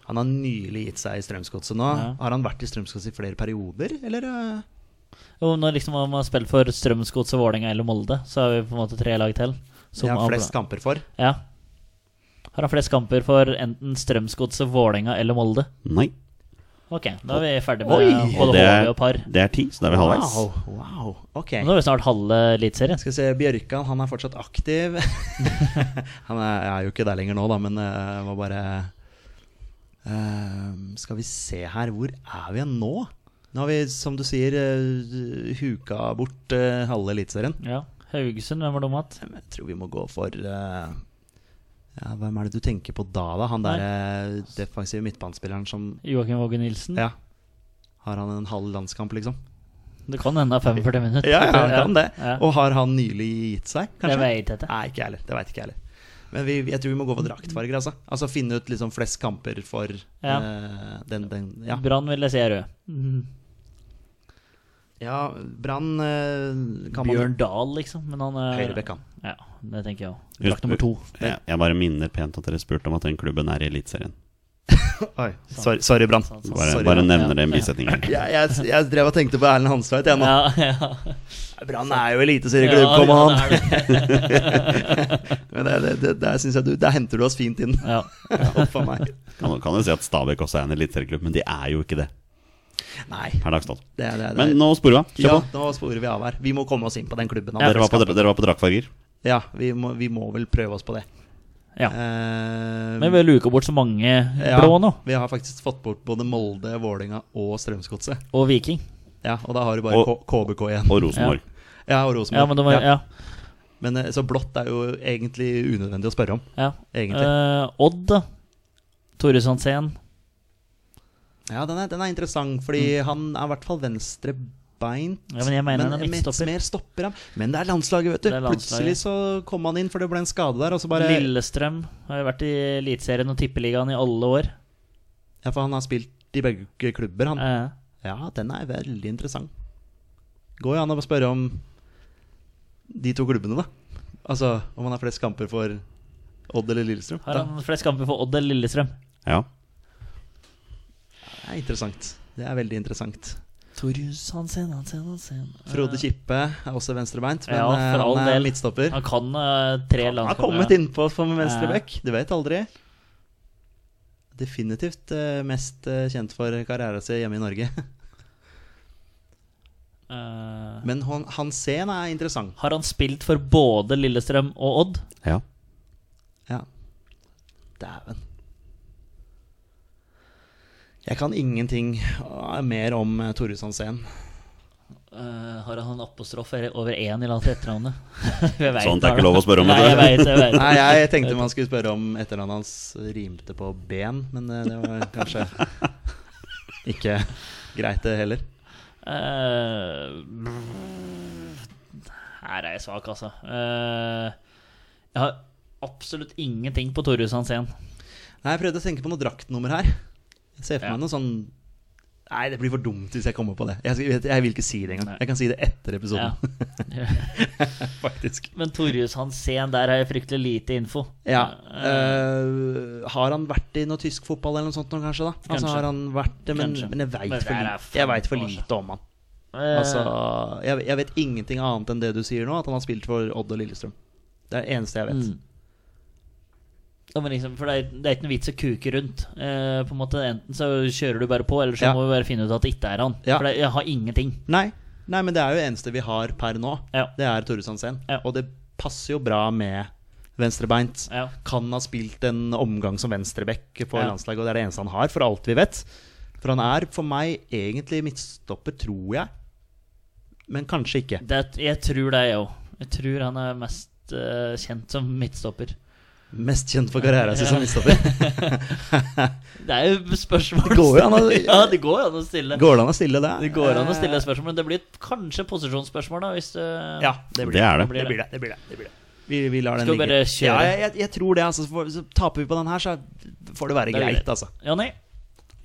Han har nylig gitt seg i Strømsgodset nå. Ja. Har han vært i Strømsgodset i flere perioder, eller? eh? Jo, når liksom han har spilt for Strømsgods og Vålerenga eller Molde, så har vi på en måte tre lag til. som Det har har- han flest kamper for. Ja. Har han flest kamper for enten Strømsgodset, Vålerenga eller Molde? Nei. Eh, Ok, da er vi ferdig Oi! med Og både det HV er, og par. det er ti, så da er vi halvveis. Wow, wow. Ok. Nå er vi snart halve eliteserien. Skal vi se, Bjørkan han er fortsatt aktiv. han er, er jo ikke der lenger nå, da, men uh, var bare eh, Skal vi se her, hvor er vi igjen nå? Nå har vi, som du sier, eh, huka bort eh, halve Eliteserien. Ja. Haugesund, hvem var det om at? Men Jeg tror vi må gå for eh, ja, Hvem er det du tenker på da, da? Han derre defensive midtbanespilleren som Joakim Våge Nilsen? Ja. Har han en halv landskamp, liksom? Det kan hende det er 45 minutter. Ja, ja, han kan det. Ja. Og har han nylig gitt seg, Det kanskje? vet jeg ikke. Nei, ikke jeg heller. Det veit ikke jeg heller. Men vi, jeg tror vi må gå for draktfarger, altså. Altså Finne ut liksom flest kamper for Ja. eh, den, den Ja. Brann vil jeg si er rød. Ja, Brann eh, kan man Bjørn Dahl, liksom. Men han er Høyrebekk, han. Ja, det tenker jeg òg. Drakt nummer to. Jeg, jeg bare minner pent at dere spurte om at den klubben er i Eliteserien. Oi, sorry, sorry Brann. Sant, sant. Bare, Sorry, bare ja. nevner det i en Ja. bisetning. her. Jeg, jeg, jeg drev og tenkte på Erlend Hanstveit, jeg nå. Ja, ja. Brann er jo eliteserieklubb, kom ja, an! det er det. Men det, det, det, der synes jeg du, der henter du oss fint inn. Ja. Huff a meg. Kan, kan jo si at Stabæk også er en eliteserieklubb, men de er jo ikke det Nei, per dags dato. det er det. det. Men nå sporer vi av. Kjør ja, på. nå sporer vi av her. Vi må komme oss inn på den klubben. Dere var på, dere var på draktfarger. Ja, vi må, vi må vel prøve oss på det. Ja. Eh, Men vi luker bort så mange ja, blå nå. Vi har faktisk fått bort både Molde, Vålinga og Strømsgodset. Og Viking. Ja, og da har du bare Og- K KBK igjen. Og Rosenborg. ja, og Ja, men Rosenborg. det var, ja, Men, eh, så blått er jo egentlig unødvendig å spørre om. ja. Egentlig. Eh, Odd, da. Tore Sandsen. Ja, den er, den er interessant, fordi han er i hvert fall venstrebeint. Mm. Ja, men jeg mener han er midtstopper. Mer stopper han. Men det er landslaget, vet du. Det er landslaget. Plutselig så kom han inn, for det ble en skade der. Og så bare Lillestrøm har jo vært i Eliteserien og Tippeligaen i alle år. Ja, for han har spilt i begge klubber, han. Eh, Ja, den er veldig interessant. Går jo an å spørre om de to klubbene, da. Altså om han har flest kamper for Odd eller Lillestrøm. har Da- han flest kamper for Odd eller Lillestrøm? Ja. Det er interessant. Det er veldig interessant. Eh. Tore Sandsen, Hansen, Hansen. Frode Kippe er også venstrebeint, men Ja, eh, for all han er del. midtstopper. Han kan eh, tre Han har landskamper. kommet innpå som venstre Ja. bekk. Du vet aldri. Definitivt eh, mest eh, kjent for karrieren sin hjemme i Norge. Eh, Men han, Hansen er interessant. har han spilt for både Lillestrøm og Odd? ja. Ja. Dæven. Jeg kan ingenting eh, mer om eh, Torjus Hansen. Eh, har han en apostrof eller over én i landet til etternavnet? Jeg vet Sånt Sånn, er hva ikke lov å spørre om, Nei, jeg vet du. vet, jeg vet. Nei, jeg tenkte man skulle spørre om etternavnet hans rimte på ben, men eh, det var kanskje ikke greit, det heller. Eh, brr. her er jeg svak, altså. Eh, jeg har absolutt ingenting på Torjus Hansen. Nei, jeg prøvde å tenke på noe draktnummer her. Jeg ser for Ja. meg noe sånn Nei, det blir for dumt hvis jeg kommer på det. Jeg, skal- jeg vil ikke si det engang. Nei. Jeg kan si det etter Sånn. Ja. episoden, faktisk. Men Torjus Hansen, der har jeg fryktelig lite info. Ja. Eh, øh, har han vært i noe tysk fotball eller noe sånt nå, kanskje? da? Altså, Kanskje. har han vært det, men, Kanskje. men jeg Men veit det for, er lite- fem jeg vet for år lite om han. eh, Altså, jeg, jeg vet ingenting annet enn det du sier nå, at han har spilt for Odd og Lillestrøm. Det er det eneste jeg vet. mm. Ja, men liksom, for det er, det er ikke noe vits å kuke rundt. Eh, på en måte Enten så kjører du bare på, eller så Ja. må vi bare finne ut at det ikke er han. Ja. For det, jeg har ingenting. Nei, nei, men det er jo det eneste vi har per nå. Ja. Det er Tore Sandsen. Ja. Og det passer jo bra med venstrebeint. Ja. Kan ha spilt en omgang som venstreback for Ja. landslaget, og det er det eneste han har, for alt vi vet. For han er for meg egentlig midtstopper, tror jeg. Men kanskje ikke. Det, jeg tror det, jeg òg. Jeg tror han er mest eh, kjent som midtstopper. Mest kjent for karrieren sin som midtstopper. Det er jo spørsmål Det går jo an å- ja, det går jo an å stille. Går det an å stille det? Det går an å stille spørsmål, men det blir kanskje et posisjonsspørsmål, da, hvis eh, du Eh. Ja, det blir Det det. er det. blir Det blir det. det, blir det, det, blir det. Vi, vi lar den Skal vi ligge. bare kjøre? Ja, jeg, jeg tror det. Altså, så får- så taper vi på den her, så får det være Det er greit, greit. altså. Jonny,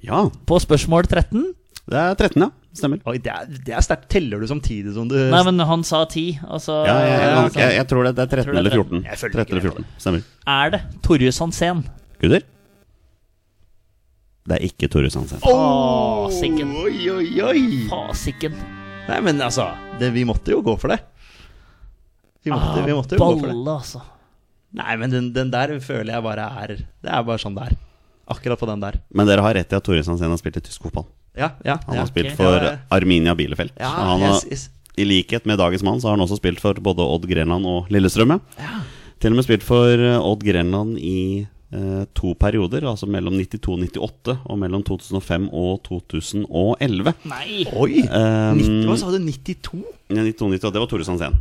Ja. på spørsmål 13 Det er 13, ja. Stemmer. Oi, det er, det er sterkt. Teller du samtidig som du Nei, men han sa 10, altså Ja, jeg, jeg, altså, jeg, jeg tror det, det er 13 Tror det er eller 14. Jeg følger 13 ikke eller med 14. Stemmer. Er det Torjus Hansen? Gutter? Det er ikke Tore Sandsen. Fasiken. Oi, oi, oi! Fasiken. Nei, men altså det, Vi måtte jo gå for det. Vi måtte, vi måtte jo gå for det. Balle, altså. Nei, men den, den der føler jeg bare er Det er bare sånn det er. Akkurat på den der. Men dere har rett i at Tore Sandsen har spilt i tysk fotball. Ja, ja. Han ja. har spilt ok. for Ja, ja. Arminia Bielefeld. ja Og han har, yes, yes. I likhet med dagens mann så har han også spilt for både Odd Grenland og Lillestrøm. ja. Til og med spilt for eh, Odd Grenland i eh, to perioder, altså mellom 92-98 og mellom 2005 og 2011. Nei! Oi! Um, 90, hva sa du? 92? Å Ja, 92, det var Tore Sandsen.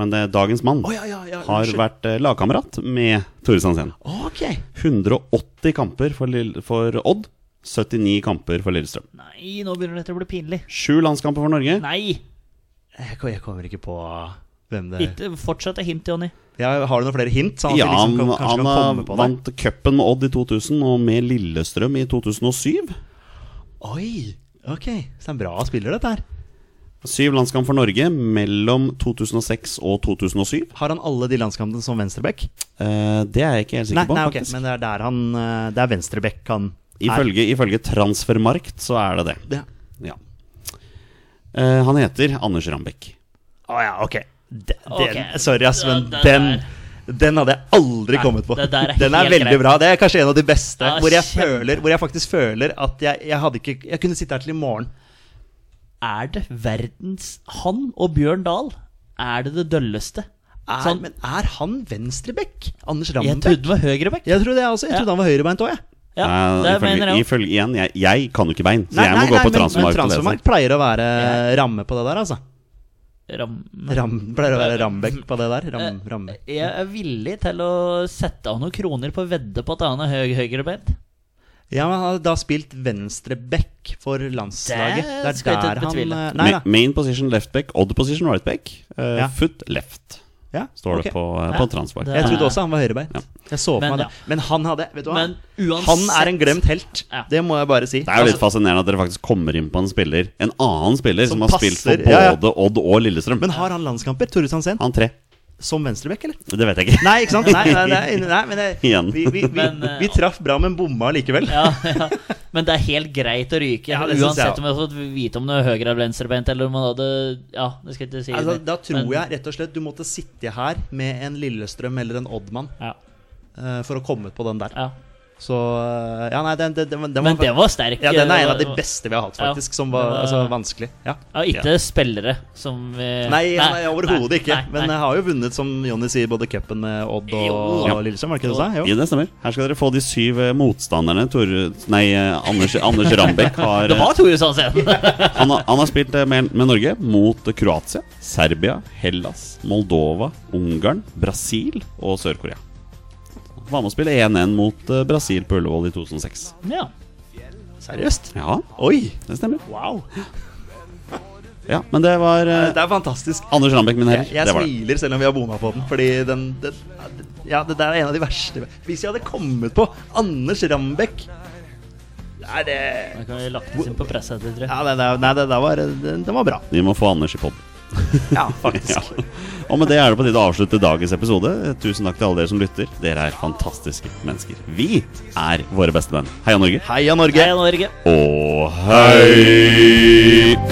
Men eh, dagens mann ja, ja, ja. har unnskyld. vært eh, lagkamerat med Tore Sandsen. Ok. 180 kamper for, Lill- for Odd, 79 kamper for Lillestrøm. Nei, nå begynner dette å bli pinlig. Sju landskamper for Norge. Nei! Jeg, kom- jeg kommer ikke på hvem det Ikke- Fortsett å hinte, Jonny. ja, Har du noen flere hint? Sånn at Ja, vi liksom han, kan, kanskje han kan eh, komme på det. vant cupen med Odd i 2000 og med Lillestrøm i 2007. Oi! Ok. Så det er en bra spiller, dette her. Syv landskamp for Norge mellom 2006 og 2007. Har han alle de landskampene som venstreback? Eh, det er jeg ikke helt sikker Nei, på, nei ok, faktisk. men det er der han eh, Det er venstreback han er. Ifølge, ifølge Transfermarkt så er det det. Ja. Ja. Eh, han heter Anders Rambekk. Å ja, ok. De, den, Ok. Sorry, ass, men Ja, det den den hadde jeg aldri Nei, kommet på. det der er den er helt veldig greit. bra. Det er kanskje en av de beste. Ja, hvor, jeg kjempe. føler, hvor jeg faktisk føler at jeg, jeg hadde ikke Jeg kunne sitte her til i morgen. Er det verdens Han og Bjørn Dahl er det det dølleste. Er, Sånn, men er han venstreback? Anders jeg Rambekk? trodde det var høyreback. Jeg trodde jeg også. Jeg Ja. trodde han var høyrebeint òg, jeg. Ja, Nei, det Eh, ifølge, mener jeg også. ifølge, igjen, jeg, jeg kan jo ikke bein, så jeg må gå på altså. men- Men Transfermarkt. og lese. transfermarkt pleier å være ramme på det der, altså. Ram- Ram, pleier å være Rambekk på det der. Ram, Eh, ramme. Jeg er villig til å sette av noen kroner på å vedde på at han er høy, høyrebeint. Ja, men han har da spilt venstreback for landslaget. Det Det, skal jeg er der ikke han betvile. eh, Nei Ma- da. Main position left back, odd position right back, eh, Ja. foot left, Ja, står ok. det på, eh, Ja. på Transmark. Det- Jeg trodde også han var høyrebeint. Ja. Jeg så på Men meg ja. det. Men han hadde Vet du hva? Men uansett- han er en glemt helt. Ja. Det må jeg bare si. Altså, Det er jo litt fascinerende at dere faktisk kommer inn på en spiller En annen spiller som, Som har spilt for passer, ja, ja. både Odd og Lillestrøm. Men har han landskamper, Tore Sansen, han tre. som venstreback, eller? Det vet jeg ikke. Nei, ikke sant? Nei, nei, nei, nei men det, Igjen. Vi, vi, vi, Men, eh, vi traff bra, men bomma likevel. Ja, ja. Men det er helt greit å ryke. Ja, det synes jeg uansett også. om jeg hadde fått vite om det er høyre- eller venstrebeint, eller om han hadde Ja, det skal jeg ikke si. Altså, det. da tror Men- jeg rett og slett du måtte sitte her med en Lillestrøm eller en Oddmann ja, eh, for å komme ut på den der. ja. Så eh, Ja, nei, den, den, den, den Men det var sterk. Ja, den er en av de det var- beste vi har hatt, Ja, faktisk. Som var, det var- altså, vanskelig. Ja. Ja, ikke spillere som vi Nei, nei, overhodet nei, ikke. nei, Men nei. jeg har jo vunnet, som Jonny sier, både cupen med Odd og, Jo. Ja. og Lillestrøm. Var det ikke det du sa? Jo. Ja, det stemmer. Her skal dere få de syv eh, motstanderne Tore Nei, eh, Anders, Anders Rambekk har, Det var Tore Sansen! eh, han, har han har spilt eh, med, med Norge mot eh, Kroatia, Serbia, Hellas, Moldova, Ungarn, Brasil og Sør-Korea. Han Var med å spille 1-1 mot eh, Brasil på Ullevål i 2006. ja. Seriøst? Ja, Oi! det stemmer. Wow! Ja, Men det var eh, Det er fantastisk. Anders Rambekk, mine herrer. Jeg, jeg det var det. smiler selv om vi har bomma på den, fordi den, den Ja, det der er en av de verste Hvis jeg hadde kommet på Anders Rambekk Nei, det Da kan vi lagt oss inn på presset, tror jeg. Ja, det, det, nei, det, det, var, det, det var bra. Vi må få Anders i pod. Ja, faktisk. Ja. Og med det er det på tide å avslutte dagens episode. Tusen takk til alle dere som lytter. Dere er fantastiske mennesker. Vi er våre beste venn. Heia Norge. Heia Norge! Heia Norge! Og hei!